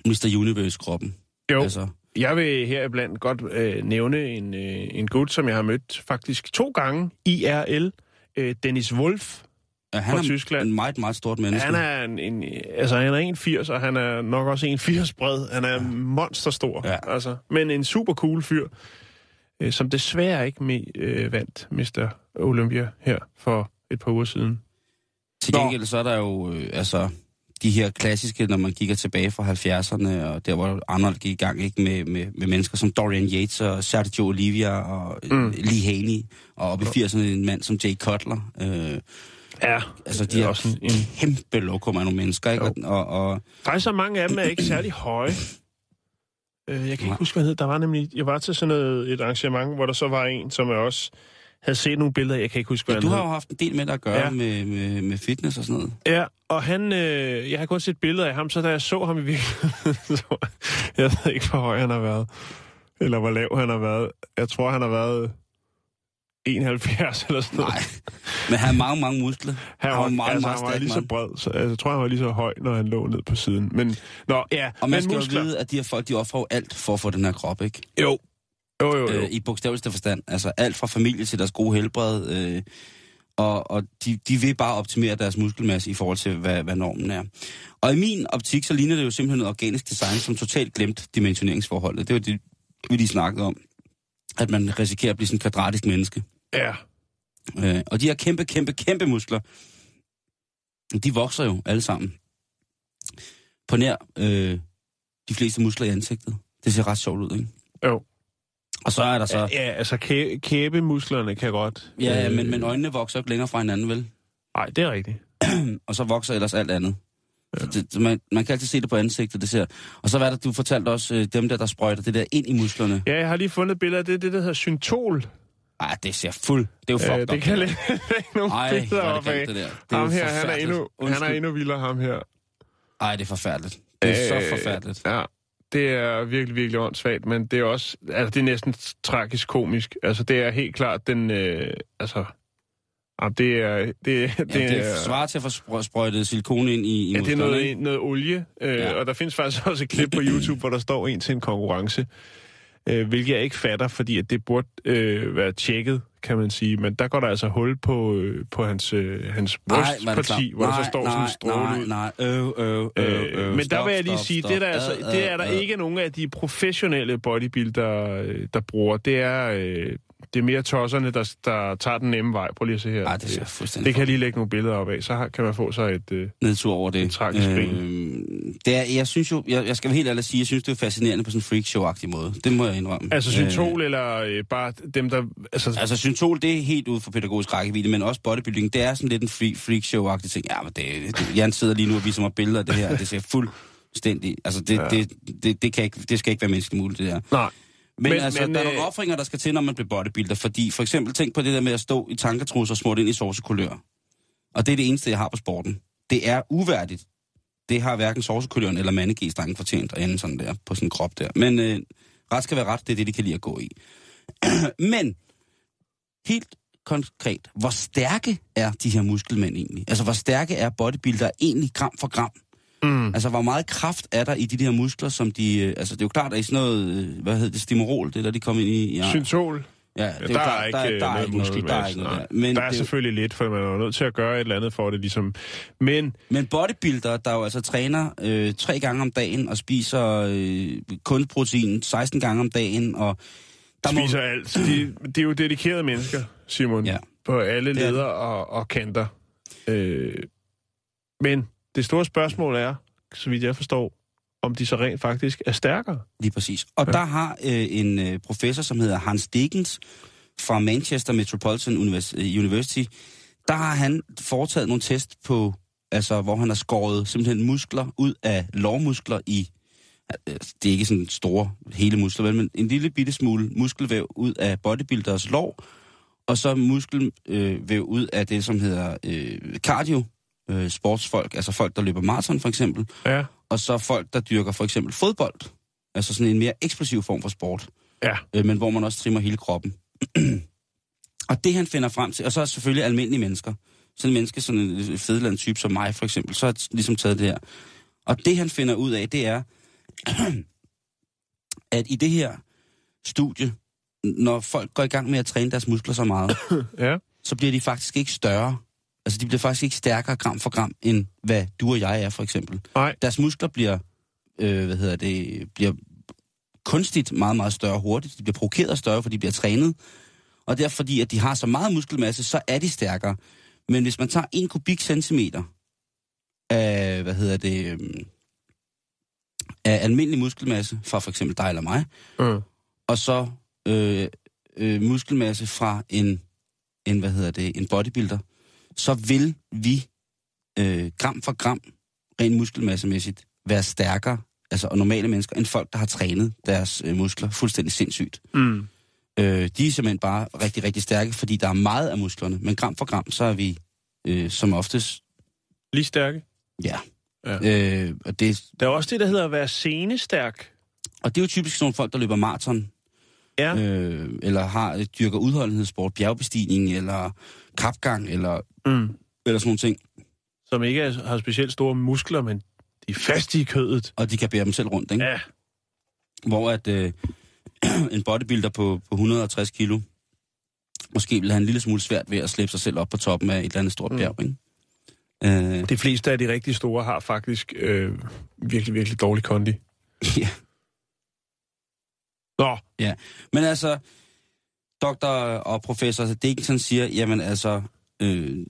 [SPEAKER 5] Mr. Universe-kroppen.
[SPEAKER 4] Jo.
[SPEAKER 5] Altså,
[SPEAKER 4] Jeg vil heriblandt godt øh, nævne en, øh, en gut, som jeg har mødt faktisk to gange IRL. Øh, Dennis Wolf.
[SPEAKER 5] Ja, han
[SPEAKER 4] fra
[SPEAKER 5] er
[SPEAKER 4] Tyskland.
[SPEAKER 5] en meget, meget stort menneske.
[SPEAKER 4] Han er en, en, altså, han er 1,80, og han er nok også 1,80 bred. Han er monsterstor.
[SPEAKER 5] Ja.
[SPEAKER 4] Altså, men en super cool fyr, øh, som desværre ikke med, øh, vandt Mr. Olympia her for et par uger siden.
[SPEAKER 5] Til gengæld så er der jo øh, altså, de her klassiske, når man kigger tilbage fra 70'erne, og der hvor Arnold gik i gang ikke, med, med, med mennesker som Dorian Yates og Sergio Olivia og
[SPEAKER 4] Mm.
[SPEAKER 5] mm. Lee Haney, og op i 80'erne en mand som Jay Cutler. Øh,
[SPEAKER 4] Ja,
[SPEAKER 5] altså de
[SPEAKER 4] det er
[SPEAKER 5] her
[SPEAKER 4] også en, en
[SPEAKER 5] kæmpe lokum af nogle mennesker, ikke? Og, og,
[SPEAKER 4] Faktisk så mange af dem er ikke særlig høje. Øh, jeg kan ikke
[SPEAKER 5] Nej.
[SPEAKER 4] huske, hvad han hed. Der var nemlig, jeg var til sådan noget, et arrangement, hvor der så var en, som jeg også havde set nogle billeder af. Jeg kan ikke huske, hvad han
[SPEAKER 5] og du
[SPEAKER 4] hed.
[SPEAKER 5] har jo haft en del med det at gøre
[SPEAKER 4] Ja.
[SPEAKER 5] ja. med, med, med fitness og sådan noget.
[SPEAKER 4] Ja, og han, øh, jeg har kun set billeder af ham, så da jeg så ham i virkeligheden, så jeg ved ikke, hvor høj han har været, eller hvor lav han har været. Jeg tror, han har været 71 eller sådan noget.
[SPEAKER 5] Nej, men han har mange, mange muskler.
[SPEAKER 4] Han var,
[SPEAKER 5] jo
[SPEAKER 4] meget, altså, han var lige så
[SPEAKER 5] mand.
[SPEAKER 4] bred, så altså, jeg tror, han var lige så høj, når han lå ned på siden. Men, nå, ja,
[SPEAKER 5] Og man
[SPEAKER 4] men
[SPEAKER 5] skal jo
[SPEAKER 4] muskler.
[SPEAKER 5] vide, at de her folk, de offrer jo alt for at få den her krop, ikke?
[SPEAKER 4] Jo. Jo, jo, jo.
[SPEAKER 5] øh, i bogstaveligste forstand. Altså alt fra familie til deres gode helbred. Øh, og og de, de vil bare optimere deres muskelmasse i forhold til, hvad, hvad normen er. Og i min optik, så ligner det jo simpelthen noget organisk design, som totalt glemt dimensioneringsforholdet. Det var det, vi lige snakkede om. At man risikerer at blive sådan en kvadratisk menneske.
[SPEAKER 4] Ja.
[SPEAKER 5] Øh, og de her kæmpe, kæmpe, kæmpe muskler, de vokser jo alle sammen. På nær øh, de fleste muskler i ansigtet. Det ser ret sjovt ud, ikke?
[SPEAKER 4] Jo.
[SPEAKER 5] Og så er der så...
[SPEAKER 4] Ja, ja altså kæ- kæbemusklerne kan godt.
[SPEAKER 5] Ja, øh... men, men øjnene vokser jo ikke længere fra hinanden, vel?
[SPEAKER 4] Nej, det er rigtigt.
[SPEAKER 5] Og så vokser ellers alt andet. Ja. Det, det- man, man kan altid se det på ansigtet, det ser. Og så var det, du fortalte også, øh, dem der, der sprøjter det der ind i musklerne.
[SPEAKER 4] Ja, jeg har lige fundet billeder af det, det der hedder syntol.
[SPEAKER 5] Ej, Ah, det ser fuld. Det er jo fucked
[SPEAKER 4] Øh,
[SPEAKER 5] op.
[SPEAKER 4] det kan jeg
[SPEAKER 5] der.
[SPEAKER 4] lægge nogle
[SPEAKER 5] Ej, hvor
[SPEAKER 4] billeder
[SPEAKER 5] er
[SPEAKER 4] op
[SPEAKER 5] det
[SPEAKER 4] af.
[SPEAKER 5] grimt, det der. Det er
[SPEAKER 4] ham
[SPEAKER 5] jo
[SPEAKER 4] her, han er,
[SPEAKER 5] forfærdeligt.
[SPEAKER 4] endnu, han er
[SPEAKER 5] Undskyld.
[SPEAKER 4] endnu vildere, ham her.
[SPEAKER 5] Ej, det er forfærdeligt. Det er øh... så forfærdeligt.
[SPEAKER 4] Ja, det er virkelig, virkelig åndssvagt, men det er også, altså det er næsten tragisk komisk. Altså det er helt klart den, øh, altså, jamen, det er, det, det,
[SPEAKER 5] Ja, det er svarer til at få spr- sprøjtet silikon ind i, i
[SPEAKER 4] Ja, det er
[SPEAKER 5] musklerne,
[SPEAKER 4] noget,
[SPEAKER 5] ikke?
[SPEAKER 4] noget olie, øh, ja.
[SPEAKER 5] Ja.
[SPEAKER 4] og der findes faktisk også et klip på YouTube, hvor der står en til en konkurrence, øh, hvilket jeg ikke fatter, fordi at det burde øh, være tjekket, kan man sige. Men der går der altså hul på, øh, på hans, øh, hans
[SPEAKER 5] hvor er det klamt.
[SPEAKER 4] brystparti, hvor der så står
[SPEAKER 5] nej,
[SPEAKER 4] sådan en stråle
[SPEAKER 5] nej,
[SPEAKER 4] ud.
[SPEAKER 5] Nej, øv, øv, øv,
[SPEAKER 4] Øh,
[SPEAKER 5] øv.
[SPEAKER 4] men der
[SPEAKER 5] Stop,
[SPEAKER 4] vil jeg lige
[SPEAKER 5] stop,
[SPEAKER 4] sige,
[SPEAKER 5] stop.
[SPEAKER 4] det er der, altså,
[SPEAKER 5] Ad,
[SPEAKER 4] det er
[SPEAKER 5] ad,
[SPEAKER 4] der
[SPEAKER 5] ad.
[SPEAKER 4] ikke nogen af de professionelle bodybuildere, øh, der bruger. Det er, øh, det er mere tosserne, der, der tager den nemme vej. Prøv lige at se her.
[SPEAKER 5] Ej, det ser
[SPEAKER 4] det,
[SPEAKER 5] fuldstændig
[SPEAKER 4] det kan jeg lige lægge nogle billeder op af, så har, kan man få sig et... Øh,
[SPEAKER 5] nedtur over det. Øhm,
[SPEAKER 4] En tragisk
[SPEAKER 5] det er, jeg synes jo, jeg, jeg skal være helt ærlig sige, jeg synes, det er fascinerende på sådan en freakshow-agtig måde. Det må jeg indrømme.
[SPEAKER 4] altså
[SPEAKER 5] Øh,
[SPEAKER 4] syntol, eller øh, bare dem, der... Altså,
[SPEAKER 5] altså syntol, det er helt ude for pædagogisk rækkevidde, men også bodybuilding, det er sådan lidt en freak, freakshow-agtig ting. Ja, men det, det, Jan sidder lige nu og viser mig billeder af det her, og det ser fuldstændig... Altså, det, ja. det, det, det, kan ikke, det skal ikke være menneskeligt muligt, det der.
[SPEAKER 4] nej.
[SPEAKER 5] Men,
[SPEAKER 4] Men-
[SPEAKER 5] men altså,
[SPEAKER 4] men,
[SPEAKER 5] men, der er nogle
[SPEAKER 4] øh,
[SPEAKER 5] offringer, der skal til, når man bliver bodybuilder. Fordi for eksempel, tænk på det der med at stå i tanketrusser og smurt ind i sovsekulør. Og det er det eneste, jeg har på sporten. Det er uværdigt. Det har hverken sovsekuløren eller mandegestangen fortjent at ende sådan der, på sin krop der. Men øh, ret skal være ret, det er det, de kan lide at gå i. men, helt konkret, hvor stærke er de her muskelmænd egentlig? Altså, hvor stærke er bodybuildere egentlig gram for gram?
[SPEAKER 4] Mm.
[SPEAKER 5] Altså, hvor meget kraft er der i de der muskler, som de... øh, Altså, det er jo klart, at i sådan noget... øh, Hvad hedder det? Stimorol, det der, de kom ind i... Ja,
[SPEAKER 4] Syntol,
[SPEAKER 5] ja det er jo
[SPEAKER 4] der,
[SPEAKER 5] klart,
[SPEAKER 4] er ikke øh, noget muskel
[SPEAKER 5] der er ikke noget der. Men,
[SPEAKER 4] Men der er
[SPEAKER 5] det er jo,
[SPEAKER 4] selvfølgelig lidt, for man er jo nødt til at gøre et eller andet for det, ligesom. Men
[SPEAKER 5] men bodybuilder, der jo altså træner øh, tre gange om dagen og spiser øh, kunstprotein 16 gange om dagen, og... Der
[SPEAKER 4] spiser alt. De, det er jo dedikerede mennesker, Simon,
[SPEAKER 5] Ja.
[SPEAKER 4] ja. på alle
[SPEAKER 5] Det er
[SPEAKER 4] leder og, og kanter. Øh, men det store spørgsmål er, så vidt jeg forstår, om de så rent faktisk er stærkere.
[SPEAKER 5] Lige præcis. Og ja. der har øh, en øh, professor, som hedder Hans Dickens fra Manchester Metropolitan Univers- øh, University, der har han foretaget nogle test på, altså hvor han har skåret simpelthen muskler ud af lårmuskler i, øh, det er ikke sådan store hele muskler, vel, men en lille bitte smule muskelvæv ud af bodybuilders lår, og så muskelvæv ud af det, som hedder øh, cardio, øh, sportsfolk, altså folk, der løber maraton for eksempel,
[SPEAKER 4] Ja.
[SPEAKER 5] og så folk, der dyrker for eksempel fodbold. Altså sådan en mere eksplosiv form for sport,
[SPEAKER 4] Ja.
[SPEAKER 5] øh, men hvor man også trimmer hele kroppen. og det han finder frem til, og så er selvfølgelig almindelige mennesker. Sådan en menneske, sådan en fedland type som mig for eksempel, så har t- ligesom taget det her. Og det han finder ud af, det er, at i det her studie, når folk går i gang med at træne deres muskler så meget,
[SPEAKER 4] Ja.
[SPEAKER 5] så bliver de faktisk ikke større. Altså de bliver faktisk ikke stærkere gram for gram, end hvad du og jeg er for eksempel
[SPEAKER 4] Nej.
[SPEAKER 5] deres muskler bliver, øh, hvad hedder det, bliver kunstigt meget, meget større hurtigt. De bliver provokeret større, for de bliver trænet. Og derfor, fordi at de har så meget muskelmasse, så er de stærkere. Men hvis man tager en kubikcentimeter af, hvad hedder det, øhm, af almindelig muskelmasse fra for eksempel dig eller mig,
[SPEAKER 4] Mm.
[SPEAKER 5] og så øh, øh, muskelmasse fra en, en, hvad hedder det, en bodybuilder, så vil vi øh, gram for gram, rent muskelmassemæssigt, være stærkere, altså og normale mennesker, end folk, der har trænet deres øh, muskler fuldstændig sindssygt.
[SPEAKER 4] Mm.
[SPEAKER 5] Øh, de er simpelthen bare rigtig, rigtig stærke, fordi der er meget af musklerne, men gram for gram, så er vi øh, som oftest,
[SPEAKER 4] Lige stærke.
[SPEAKER 5] ja.
[SPEAKER 4] Ja.
[SPEAKER 5] Øh, og, det,
[SPEAKER 4] Der er også det, der hedder at være senestærk.
[SPEAKER 5] og det er jo typisk sådan nogle folk, der løber maraton,
[SPEAKER 4] Ja.
[SPEAKER 5] øh, eller har dyrker udholdenhedssport, bjergbestigning, eller kapgang, eller,
[SPEAKER 4] Mm.
[SPEAKER 5] eller sådan nogle ting,
[SPEAKER 4] Som ikke er, har specielt store muskler, men de er faste i kødet.
[SPEAKER 5] og de kan bære dem selv rundt, ikke? Ja.
[SPEAKER 4] Ja.
[SPEAKER 5] Hvor at øh, en bodybuilder på, på 160 kilo, måske vil have en lille smule svært ved at slæbe sig selv op på toppen af et eller andet stort bjerg, ikke? Øh,
[SPEAKER 4] De fleste af de rigtig store har faktisk øh, virkelig, virkelig dårlig kondi.
[SPEAKER 5] ja.
[SPEAKER 4] Nå,
[SPEAKER 5] Men altså, doktor og professor Dickinson siger, jamen altså, øh,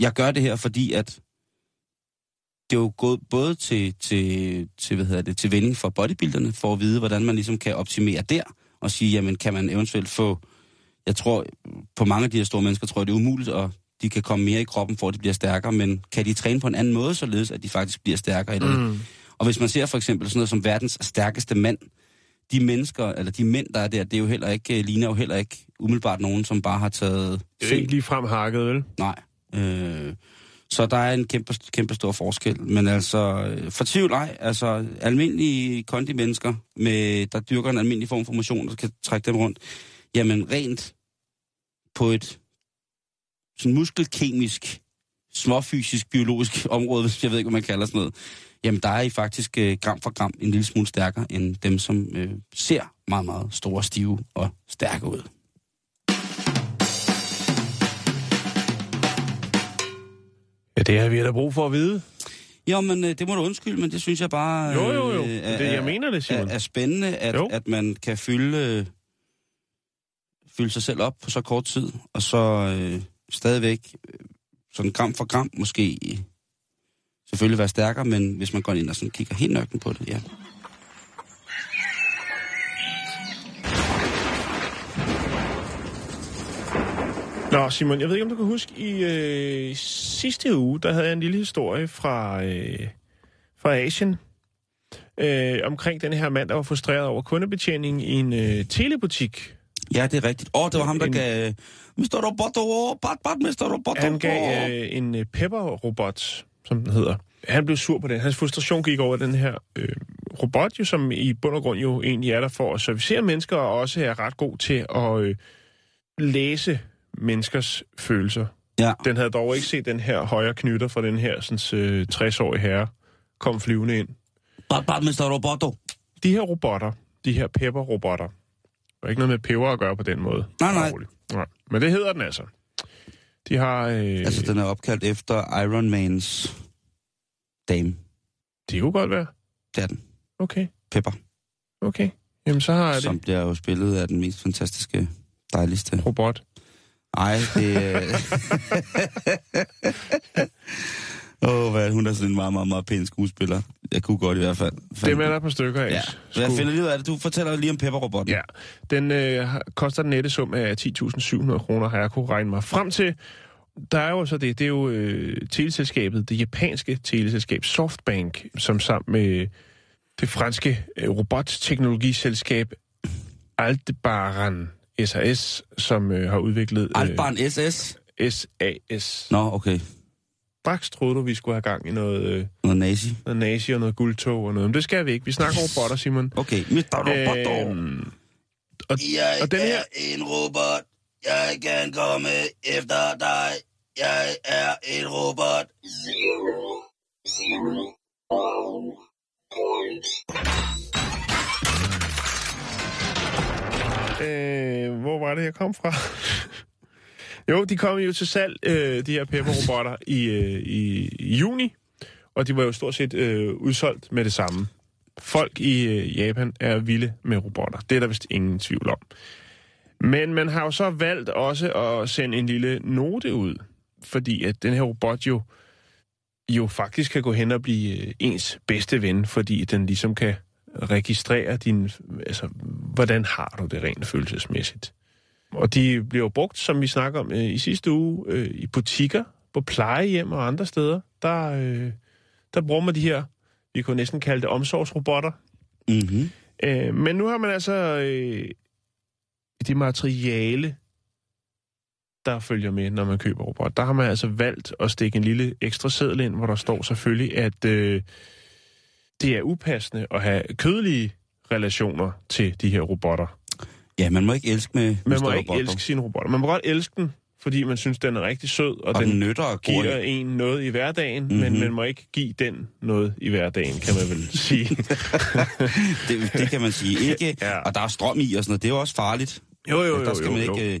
[SPEAKER 5] jeg gør det her, fordi at det er jo gået både til, til, til, hvad hedder det, til vending for bodybuilderne, for at vide, hvordan man ligesom kan optimere der, og sige, jamen kan man eventuelt få, jeg tror, på mange af de her store mennesker, tror jeg, det er umuligt, og de kan komme mere i kroppen, for at de bliver stærkere, men kan de træne på en anden måde, således at de faktisk bliver stærkere? Eller, mm. Og hvis man ser for eksempel sådan noget som verdens stærkeste mand, de mennesker, eller de mænd, der er der, det er jo heller ikke, øh, ligner jo heller ikke umiddelbart nogen, som bare har taget...
[SPEAKER 4] det er ikke lige frem hakket, vel?
[SPEAKER 5] Nej. Øh, så der er en kæmpe, kæmpe stor forskel. Men altså, øh, for tvivl ej, altså almindelige kondimennesker, med, der dyrker en almindelig form for motion, der kan trække dem rundt, jamen rent på et sådan muskelkemisk, småfysisk, biologisk område, hvis jeg ved ikke, hvad man kalder sådan noget, jamen der er I faktisk øh, gram for gram en lille smule stærkere end dem, som øh, ser meget, meget store, stive og stærke ud.
[SPEAKER 4] Ja, det har vi da brug for at vide.
[SPEAKER 5] Jo, men øh, det må du undskylde, men det synes jeg bare...
[SPEAKER 4] Jo, jo, jo.
[SPEAKER 5] øh,
[SPEAKER 4] Det, er- jeg mener det, Simon.
[SPEAKER 5] er, er spændende, at,
[SPEAKER 4] Jo.
[SPEAKER 5] at man kan fylde, øh, fylde sig selv op på så kort tid, og så øh, stadigvæk øh, sådan gram for gram måske øh, selvfølgelig være stærkere, men hvis man går ind og sådan kigger helt nøgten på det, ja.
[SPEAKER 4] Nå, Simon, jeg ved ikke, om du kan huske, i øh, sidste uge, der havde jeg en lille historie fra, øh, fra Asien. øh, omkring den her mand, der var frustreret over kundebetjeningen i en øh, telebutik.
[SPEAKER 5] Ja, det er rigtigt. Åh, oh, det var ham, der
[SPEAKER 4] En-
[SPEAKER 5] gav... Mr. Roboto, oh, bat, bat, Mr. Roboto.
[SPEAKER 4] Han gav
[SPEAKER 5] oh.
[SPEAKER 4] øh, en øh, pepper-robot, som den hedder. Han blev sur på den. Hans frustration gik over den her øh, robot, jo, som i bund og grund jo egentlig er der for at servicere mennesker, og også er ret god til at øh, læse menneskers følelser.
[SPEAKER 5] Ja,
[SPEAKER 4] Den havde dog ikke set den her højre knytter fra den her sådan, øh, 60-årige herre kom flyvende ind.
[SPEAKER 5] bat, bat, Mr. Roboto.
[SPEAKER 4] De her robotter, de her pepper-robotter, der er ikke noget med peber at gøre på den måde.
[SPEAKER 5] Nej, nej.
[SPEAKER 4] Rolig. nej. Men det hedder den altså. De har... Øh,
[SPEAKER 5] Altså, den er opkaldt efter Iron Mans dame.
[SPEAKER 4] Det kunne godt være.
[SPEAKER 5] Det er den.
[SPEAKER 4] Okay,
[SPEAKER 5] Pepper,
[SPEAKER 4] okay. Jamen, så har jeg
[SPEAKER 5] som
[SPEAKER 4] det.
[SPEAKER 5] bliver jo spillet af den mest fantastiske, dejligste.
[SPEAKER 4] Robot.
[SPEAKER 5] Ej, det øh. er... Åh, oh, hvad, er det? hun er sådan en meget, meget, meget pæn skuespiller. Jeg kunne godt i hvert fald.
[SPEAKER 4] Det er med, der er på stykker af.
[SPEAKER 5] Ja, jeg finder lige ud af det. Du fortæller lige om pepperrobotten.
[SPEAKER 4] Ja, den øh, har- koster den nette sum af 10.700 kroner, har jeg kunne regne mig frem til. Der er jo så det, det er jo øh, teleselskabet, det japanske teleselskab Softbank, som sammen med det franske øh, robotteknologiselskab Aldebaran SAS, som øh, har udviklet
[SPEAKER 5] Altbarn SS.
[SPEAKER 4] øh, SAS.
[SPEAKER 5] Nå, okay.
[SPEAKER 4] Straks troede du, vi skulle have gang i noget, øh,
[SPEAKER 5] Noget nazi.
[SPEAKER 4] noget nazi og noget guldtog og noget. Men det skal vi ikke. Vi snakker robotter, Simon.
[SPEAKER 5] Okay, Mr. Roboto.
[SPEAKER 4] Øhm, og,
[SPEAKER 5] Jeg
[SPEAKER 4] og den her,
[SPEAKER 5] er en robot. Jeg kan komme efter dig. Jeg er en robot.
[SPEAKER 4] Øh, hvor var det, jeg kom fra? jo, de kom jo til salg, øh, de her Pepper-robotter, i, øh, i, i juni, og de var jo stort set øh, udsolgt med det samme. Folk i øh, Japan er vilde med robotter. Det er der vist ingen tvivl om. Men man har jo så valgt også at sende en lille note ud, fordi at den her robot jo, jo faktisk kan gå hen og blive øh, ens bedste ven, fordi den ligesom kan registrere din, altså, hvordan har du det rent følelsesmæssigt. Og de bliver jo brugt, som vi snakker om øh, i sidste uge, øh, i butikker, på plejehjem og andre steder. Der, øh, der bruger man de her, vi kunne næsten kalde det omsorgsrobotter.
[SPEAKER 5] Mm-hmm.
[SPEAKER 4] Øh, men nu har man altså øh, det materiale, der følger med, når man køber robot. Der har man altså valgt at stikke en lille ekstra seddel ind, hvor der står selvfølgelig, at øh, det er upassende at have kødelige relationer til de her robotter.
[SPEAKER 5] Ja, man må ikke elske med
[SPEAKER 4] Man
[SPEAKER 5] Mr.
[SPEAKER 4] må ikke
[SPEAKER 5] Roboto.
[SPEAKER 4] elske sine robotter. Man må godt elske den, fordi man synes, den er rigtig sød, og,
[SPEAKER 5] Og den
[SPEAKER 4] den
[SPEAKER 5] nytter og
[SPEAKER 4] giver
[SPEAKER 5] giver.
[SPEAKER 4] en noget i hverdagen, mm-hmm.
[SPEAKER 5] Mhm.
[SPEAKER 4] men man må ikke give den noget i hverdagen, kan man vel sige.
[SPEAKER 5] Det, det kan man sige ikke.
[SPEAKER 4] Ja.
[SPEAKER 5] Og der er strøm i og sådan noget. Det er jo også farligt.
[SPEAKER 4] Jo, jo, jo.
[SPEAKER 5] der skal
[SPEAKER 4] jo,
[SPEAKER 5] man
[SPEAKER 4] jo.
[SPEAKER 5] ikke... Øh,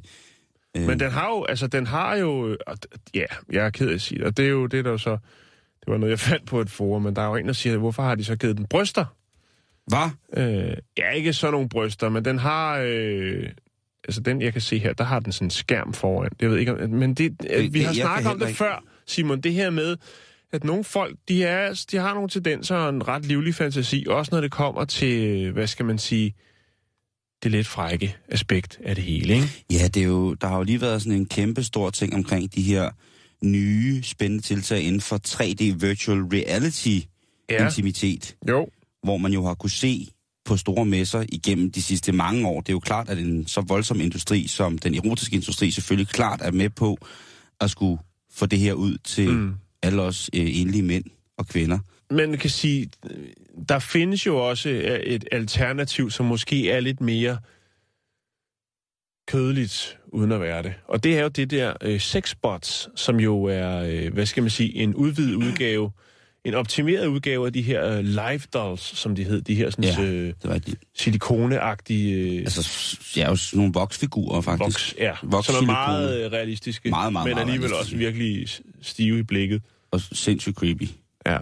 [SPEAKER 5] øh,
[SPEAKER 4] Men den har jo, altså den har jo, øh, og d- ja, jeg er ked af at sige det, og det er jo det, der jo så, det var noget, jeg fandt på et forum, men der er jo en, der siger, hvorfor har de så givet den bryster?
[SPEAKER 5] Hvad?
[SPEAKER 4] Øh, ja, ikke sådan nogle bryster, men den har, øh, altså den, jeg kan se her, der har den sådan en skærm foran. Jeg ved ikke, om, men det, øh, vi
[SPEAKER 5] det-
[SPEAKER 4] har
[SPEAKER 5] jeg kan
[SPEAKER 4] snakket om
[SPEAKER 5] heller
[SPEAKER 4] det
[SPEAKER 5] ikke-
[SPEAKER 4] før, Simon, det her med, at nogle folk, de, er, de har nogle tendenser og en ret livlig fantasi, også når det kommer til, øh, hvad skal man sige, det lidt frække aspekt af det hele, ikke?
[SPEAKER 5] Ja, det er jo, der har jo lige været sådan en kæmpe stor ting omkring de her nye spændende tiltag inden for 3D virtual reality ja. intimitet,
[SPEAKER 4] Jo,
[SPEAKER 5] hvor man jo har kunne se på store messer igennem de sidste mange år. Det er jo klart, at en så voldsom industri som den erotiske industri selvfølgelig klart er med på at skulle få det her ud til mm.
[SPEAKER 4] Mm.
[SPEAKER 5] alle os øh, enlige mænd og kvinder.
[SPEAKER 4] man kan sige, der findes jo også øh, et alternativ, som måske er lidt mere kødeligt, uden at være det. Og det er jo det der øh, sexbots, som jo er, øh, hvad skal man sige, en udvidet udgave, en optimeret udgave af de her øh, live dolls, som de hed, de her sådan,
[SPEAKER 5] Ja.
[SPEAKER 4] ja. øh,
[SPEAKER 5] Det var rigtigt.
[SPEAKER 4] silikoneagtige øh,
[SPEAKER 5] Altså, s- ja, jo sådan nogle voksfigurer faktisk.
[SPEAKER 4] voks, ja,
[SPEAKER 5] voks-
[SPEAKER 4] som er meget
[SPEAKER 5] silikone.
[SPEAKER 4] øh, realistiske,
[SPEAKER 5] Meget, meget,
[SPEAKER 4] men
[SPEAKER 5] meget
[SPEAKER 4] alligevel også
[SPEAKER 5] realistiske.
[SPEAKER 4] virkelig s- stive i blikket.
[SPEAKER 5] Og sindssygt creepy.
[SPEAKER 4] Ja.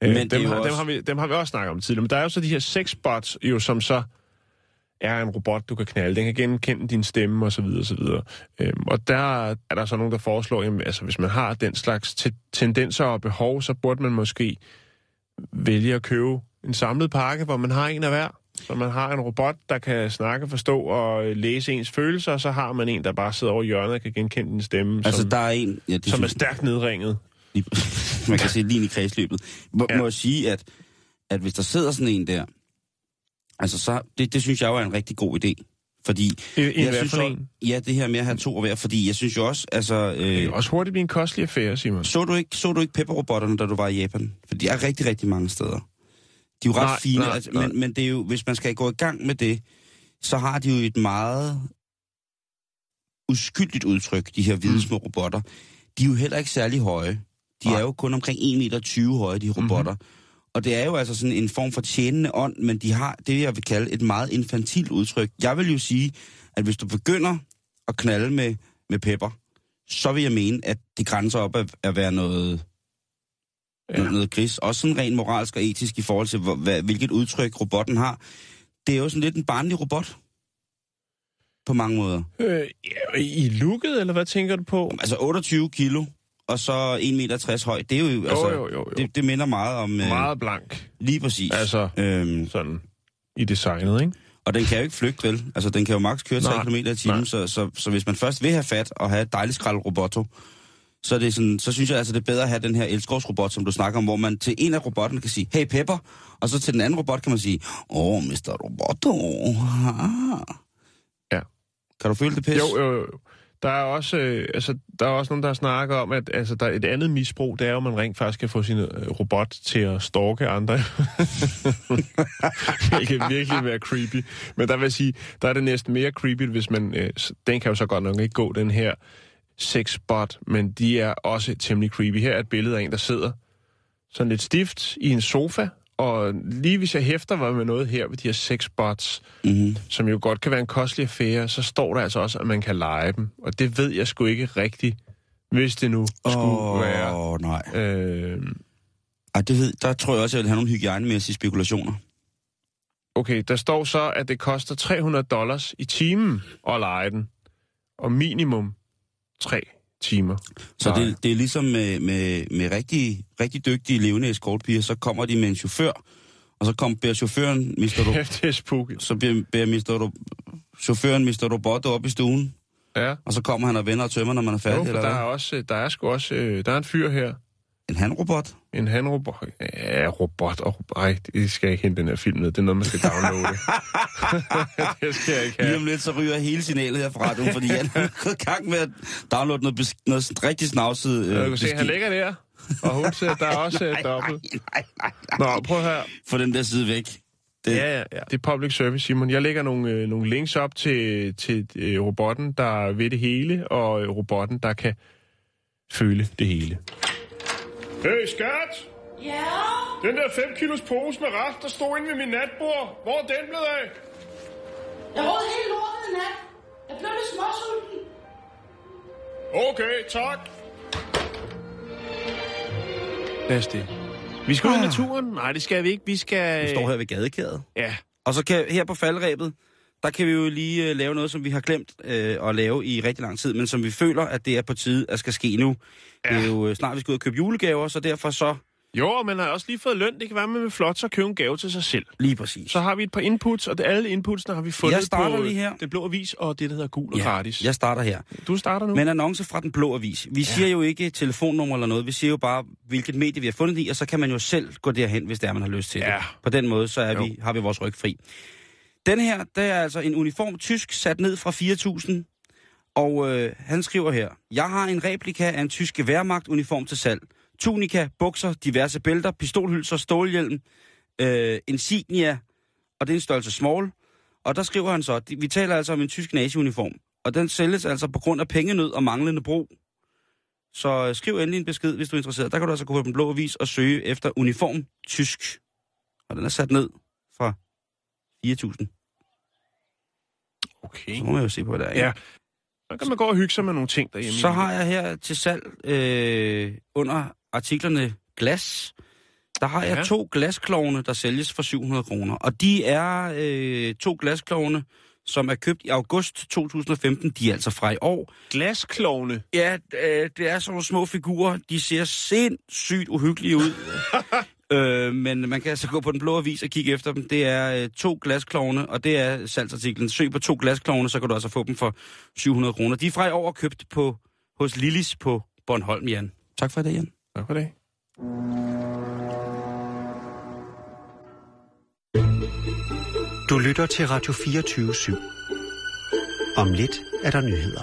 [SPEAKER 5] Men
[SPEAKER 4] Men
[SPEAKER 5] det er
[SPEAKER 4] øh, dem,
[SPEAKER 5] jo
[SPEAKER 4] har,
[SPEAKER 5] også-
[SPEAKER 4] dem, har vi, dem har vi også snakket om tidligere. Men der er jo så de her sexbots, jo, som så er en robot, du kan knalde. Den kan genkende din stemme osv. osv. Øhm, og der er der så nogen, der foreslår, at altså, hvis man har den slags te- tendenser og behov, så burde man måske vælge at købe en samlet pakke, hvor man har en af hver. Så man har en robot, der kan snakke, forstå og øh, læse ens følelser, og så har man en, der bare sidder over i hjørnet og kan genkende din stemme,
[SPEAKER 5] Altså,
[SPEAKER 4] som,
[SPEAKER 5] der Øh. er en... Ja, det
[SPEAKER 4] som er
[SPEAKER 5] synes-
[SPEAKER 4] stærkt nedringet.
[SPEAKER 5] Lige- man kan se lige ind i kredsløbet. Må, ja.
[SPEAKER 4] Ja.
[SPEAKER 5] må jeg sige, at, at hvis der sidder sådan en der, altså så, det, det synes jeg jo er en rigtig god idé. Fordi
[SPEAKER 4] En, en
[SPEAKER 5] jeg
[SPEAKER 4] hver
[SPEAKER 5] synes
[SPEAKER 4] for
[SPEAKER 5] jo,
[SPEAKER 4] en.
[SPEAKER 5] ja, det her med at have to hver, fordi jeg synes jo også, altså...
[SPEAKER 4] Det
[SPEAKER 5] Øh,
[SPEAKER 4] kan også hurtigt blive en kostelig affære, Simon.
[SPEAKER 5] så du ikke, så du ikke pepperrobotterne, da du var i Japan? For de er rigtig, rigtig mange steder. De er jo ret
[SPEAKER 4] Nej,
[SPEAKER 5] fine,
[SPEAKER 4] nej,
[SPEAKER 5] altså,
[SPEAKER 4] nej.
[SPEAKER 5] Men, men det er jo, hvis man skal gå i gang med det, så har de jo et meget uskyldigt udtryk, de her hvide små robotter. De er jo heller ikke særlig høje. De
[SPEAKER 4] Mm. Nej. Mhm.
[SPEAKER 5] er jo kun omkring 1,20 meter høje, de robotter. Og det er jo altså sådan en form for tjenende ånd, men de har det, jeg vil kalde et meget infantilt udtryk. Jeg vil jo sige, at hvis du begynder at knalde med, med pepper, så vil jeg mene, at det grænser op at, at være noget, ja. noget gris. Også sådan rent moralsk og etisk i forhold til, hvor, hvad, hvilket udtryk robotten har. Det er jo sådan lidt en barnlig robot. På mange måder.
[SPEAKER 4] Øh, ja, I looket, eller hvad tænker du på?
[SPEAKER 5] Altså 28 kilo, og så 1,60 meter høj. Det er jo, jo altså,
[SPEAKER 4] jo, jo, jo.
[SPEAKER 5] Det, det minder meget om... øh,
[SPEAKER 4] Meget blank,
[SPEAKER 5] Lige præcis.
[SPEAKER 4] Altså.
[SPEAKER 5] Øhm,
[SPEAKER 4] sådan, i designet, ikke?
[SPEAKER 5] og den kan jo ikke flygte, vel? Altså, den kan jo maks køre 3
[SPEAKER 4] Nej,
[SPEAKER 5] km i
[SPEAKER 4] nej.
[SPEAKER 5] timen, så, så, så hvis man først vil have fat og have et dejligt skrald roboto, så, er det sådan, så synes jeg altså, det er bedre at have den her elskovsrobot, som du snakker om, hvor man til en af robotterne kan sige, hey Pepper, og så til den anden robot kan man sige, åh, oh, Mr. Roboto. Ah.
[SPEAKER 4] Ja.
[SPEAKER 5] Kan du føle det pis?
[SPEAKER 4] Jo, jo, jo. Der er, også, øh, altså, der er også nogen, der snakker om, at altså, der er et andet misbrug, det er jo, at man rent faktisk kan få sin øh, robot til at stalke andre. det kan virkelig være creepy. Men der vil jeg sige, der er det næsten mere creepy, hvis man... Øh, s- den kan jo så godt nok ikke gå, den her sexbot, men de er også temmelig creepy. Her er et billede af en, der sidder sådan lidt stift i en sofa, og lige hvis jeg hæfter mig med noget her ved de her sexbots,
[SPEAKER 5] Mm-hmm.
[SPEAKER 4] som jo godt kan være en kostelig affære, så står der altså også, at man kan lege dem. Og det ved jeg sgu ikke rigtigt, hvis det nu skulle
[SPEAKER 5] Åh,
[SPEAKER 4] oh. være.
[SPEAKER 5] oh, nej.
[SPEAKER 4] Øh,
[SPEAKER 5] Ej, det ved, der tror jeg også, jeg vil have nogle hygiejnemæssige spekulationer.
[SPEAKER 4] okay, der står så, at det koster 300 dollars i timen at lege den. Og minimum 3 timer.
[SPEAKER 5] Så
[SPEAKER 4] Nej.
[SPEAKER 5] det, det er ligesom med, med, med rigtig, rigtig dygtige levende escortpiger, så kommer de med en chauffør, og så kommer bærer chaufføren, Mr. Ro-
[SPEAKER 4] Kæft, det er spooky.
[SPEAKER 5] så bærer, bærer Mr. Ro- chaufføren Mr. Roboto op i stuen,
[SPEAKER 4] Ja.
[SPEAKER 5] og så kommer han og vender og tømmer, når man er færdig.
[SPEAKER 4] Jo, for
[SPEAKER 5] eller
[SPEAKER 4] der er,
[SPEAKER 5] hvad?
[SPEAKER 4] også, der er sgu også øh, der er en fyr her.
[SPEAKER 5] En handrobot?
[SPEAKER 4] En hanrobot. Ja, robot. Og, ej, det skal jeg ikke hente den her film ned. Det er noget, man skal downloade. det skal jeg ikke
[SPEAKER 5] Ja. Lige
[SPEAKER 4] have.
[SPEAKER 5] om lidt, så ryger hele signalet her fra radioen, fordi han er gået i gang med at downloade noget, bes- noget rigtig snavset. Øh,
[SPEAKER 4] Ja, du kan se,
[SPEAKER 5] beskidt.
[SPEAKER 4] han ligger der, og hun siger, der er også øh, dobbelt.
[SPEAKER 5] Nej, nej,
[SPEAKER 4] Nå,
[SPEAKER 5] nej.
[SPEAKER 4] prøv her.
[SPEAKER 5] Få den der side væk. Det, ja.
[SPEAKER 4] Ja, ja, ja. Det er public service, Simon. Jeg lægger nogle, øh, nogle links op til, til øh, robotten, der ved det hele, og øh, robotten, der kan føle det hele. Hey, skat!
[SPEAKER 6] Ja?
[SPEAKER 4] Den der 5 kilos pose med rest, der stod inde ved min natbord. Hvor er den blevet af?
[SPEAKER 6] Jeg råd hele lortet i nat. Jeg blev lidt småsulten.
[SPEAKER 4] Okay, tak. Lad os det. Vi skal ud i naturen. Nej, det skal vi ikke. Vi skal...
[SPEAKER 5] Ah. Vi står her ved gadekæret.
[SPEAKER 4] Ja,
[SPEAKER 5] Og så kan, her på faldrebet, der kan vi jo lige øh, lave noget, som vi har glemt øh, at lave i rigtig lang tid, men som vi føler, at det er på tide, at skal ske nu. Ja. Det er jo øh, snart, vi skal ud og købe julegaver, så derfor så
[SPEAKER 4] Jo, man har også lige fået løn. Det kan være, man vil flot så købe en gave til sig selv.
[SPEAKER 5] lige præcis.
[SPEAKER 4] Så har vi et par inputs, og det, alle inputsene har vi fundet
[SPEAKER 5] Jeg starter
[SPEAKER 4] på
[SPEAKER 5] lige her.
[SPEAKER 4] det blå avis og det, der hedder gul og
[SPEAKER 5] ja,
[SPEAKER 4] gratis.
[SPEAKER 5] Jeg starter her.
[SPEAKER 4] Du starter nu.
[SPEAKER 5] Men annonce fra Den Blå Avis. Vi ja. siger jo ikke telefonnummer eller noget, vi siger jo bare, hvilket medie vi har fundet det i, og så kan man jo selv gå derhen, hvis det er, man har lyst til
[SPEAKER 4] Ja.
[SPEAKER 5] det. På den måde, så er
[SPEAKER 4] Jo.
[SPEAKER 5] vi, har vi vores ryg fri. Den her, det er altså en uniform tysk, sat ned fra 4.000, og øh, han skriver her, Jeg har en replika af en tysk værmagt-uniform til salg. Tunika, bukser, diverse bælter, pistolhylser, stålhjelm, øh, insignia, og det er en størrelse small. Og der skriver han så, at vi taler altså om en tysk nazi-uniform, og den sælges altså på grund af pengenød og manglende brug. Så øh, skriv endelig en besked, hvis du er interesseret. Der kan du altså gå på den blå avis og søge efter uniform tysk. Og den er sat ned fra 4.000.
[SPEAKER 4] Okay.
[SPEAKER 5] Så må man jo se på, hvad der er. ikke?
[SPEAKER 4] Ja. Så kan man gå og hygge sig med nogle ting derhjemme.
[SPEAKER 5] Så har jeg her til salg øh, under artiklerne glas. Der har jeg
[SPEAKER 4] Ja.
[SPEAKER 5] to glasklovne, der sælges for 700 kroner. Og de er øh, to glasklovne, som er købt i august 2015. De er altså fra i år.
[SPEAKER 4] glasklovne.
[SPEAKER 5] Ja, øh, det er sådan nogle små figurer. De ser sindssygt uhyggelige ud. øh, men man kan altså gå på den blå avis og kigge efter dem. Det er øh, to glasklovne, og det er salgsartiklen. Søg på to glasklovne, så kan du altså få dem for 700 kroner. De er fra i år købt på, hos Lillis på Bornholm, Jan. Tak for i dag, Jan.
[SPEAKER 4] Tak for det.
[SPEAKER 3] Du lytter til Radio 24 /7. Om lidt er der nyheder.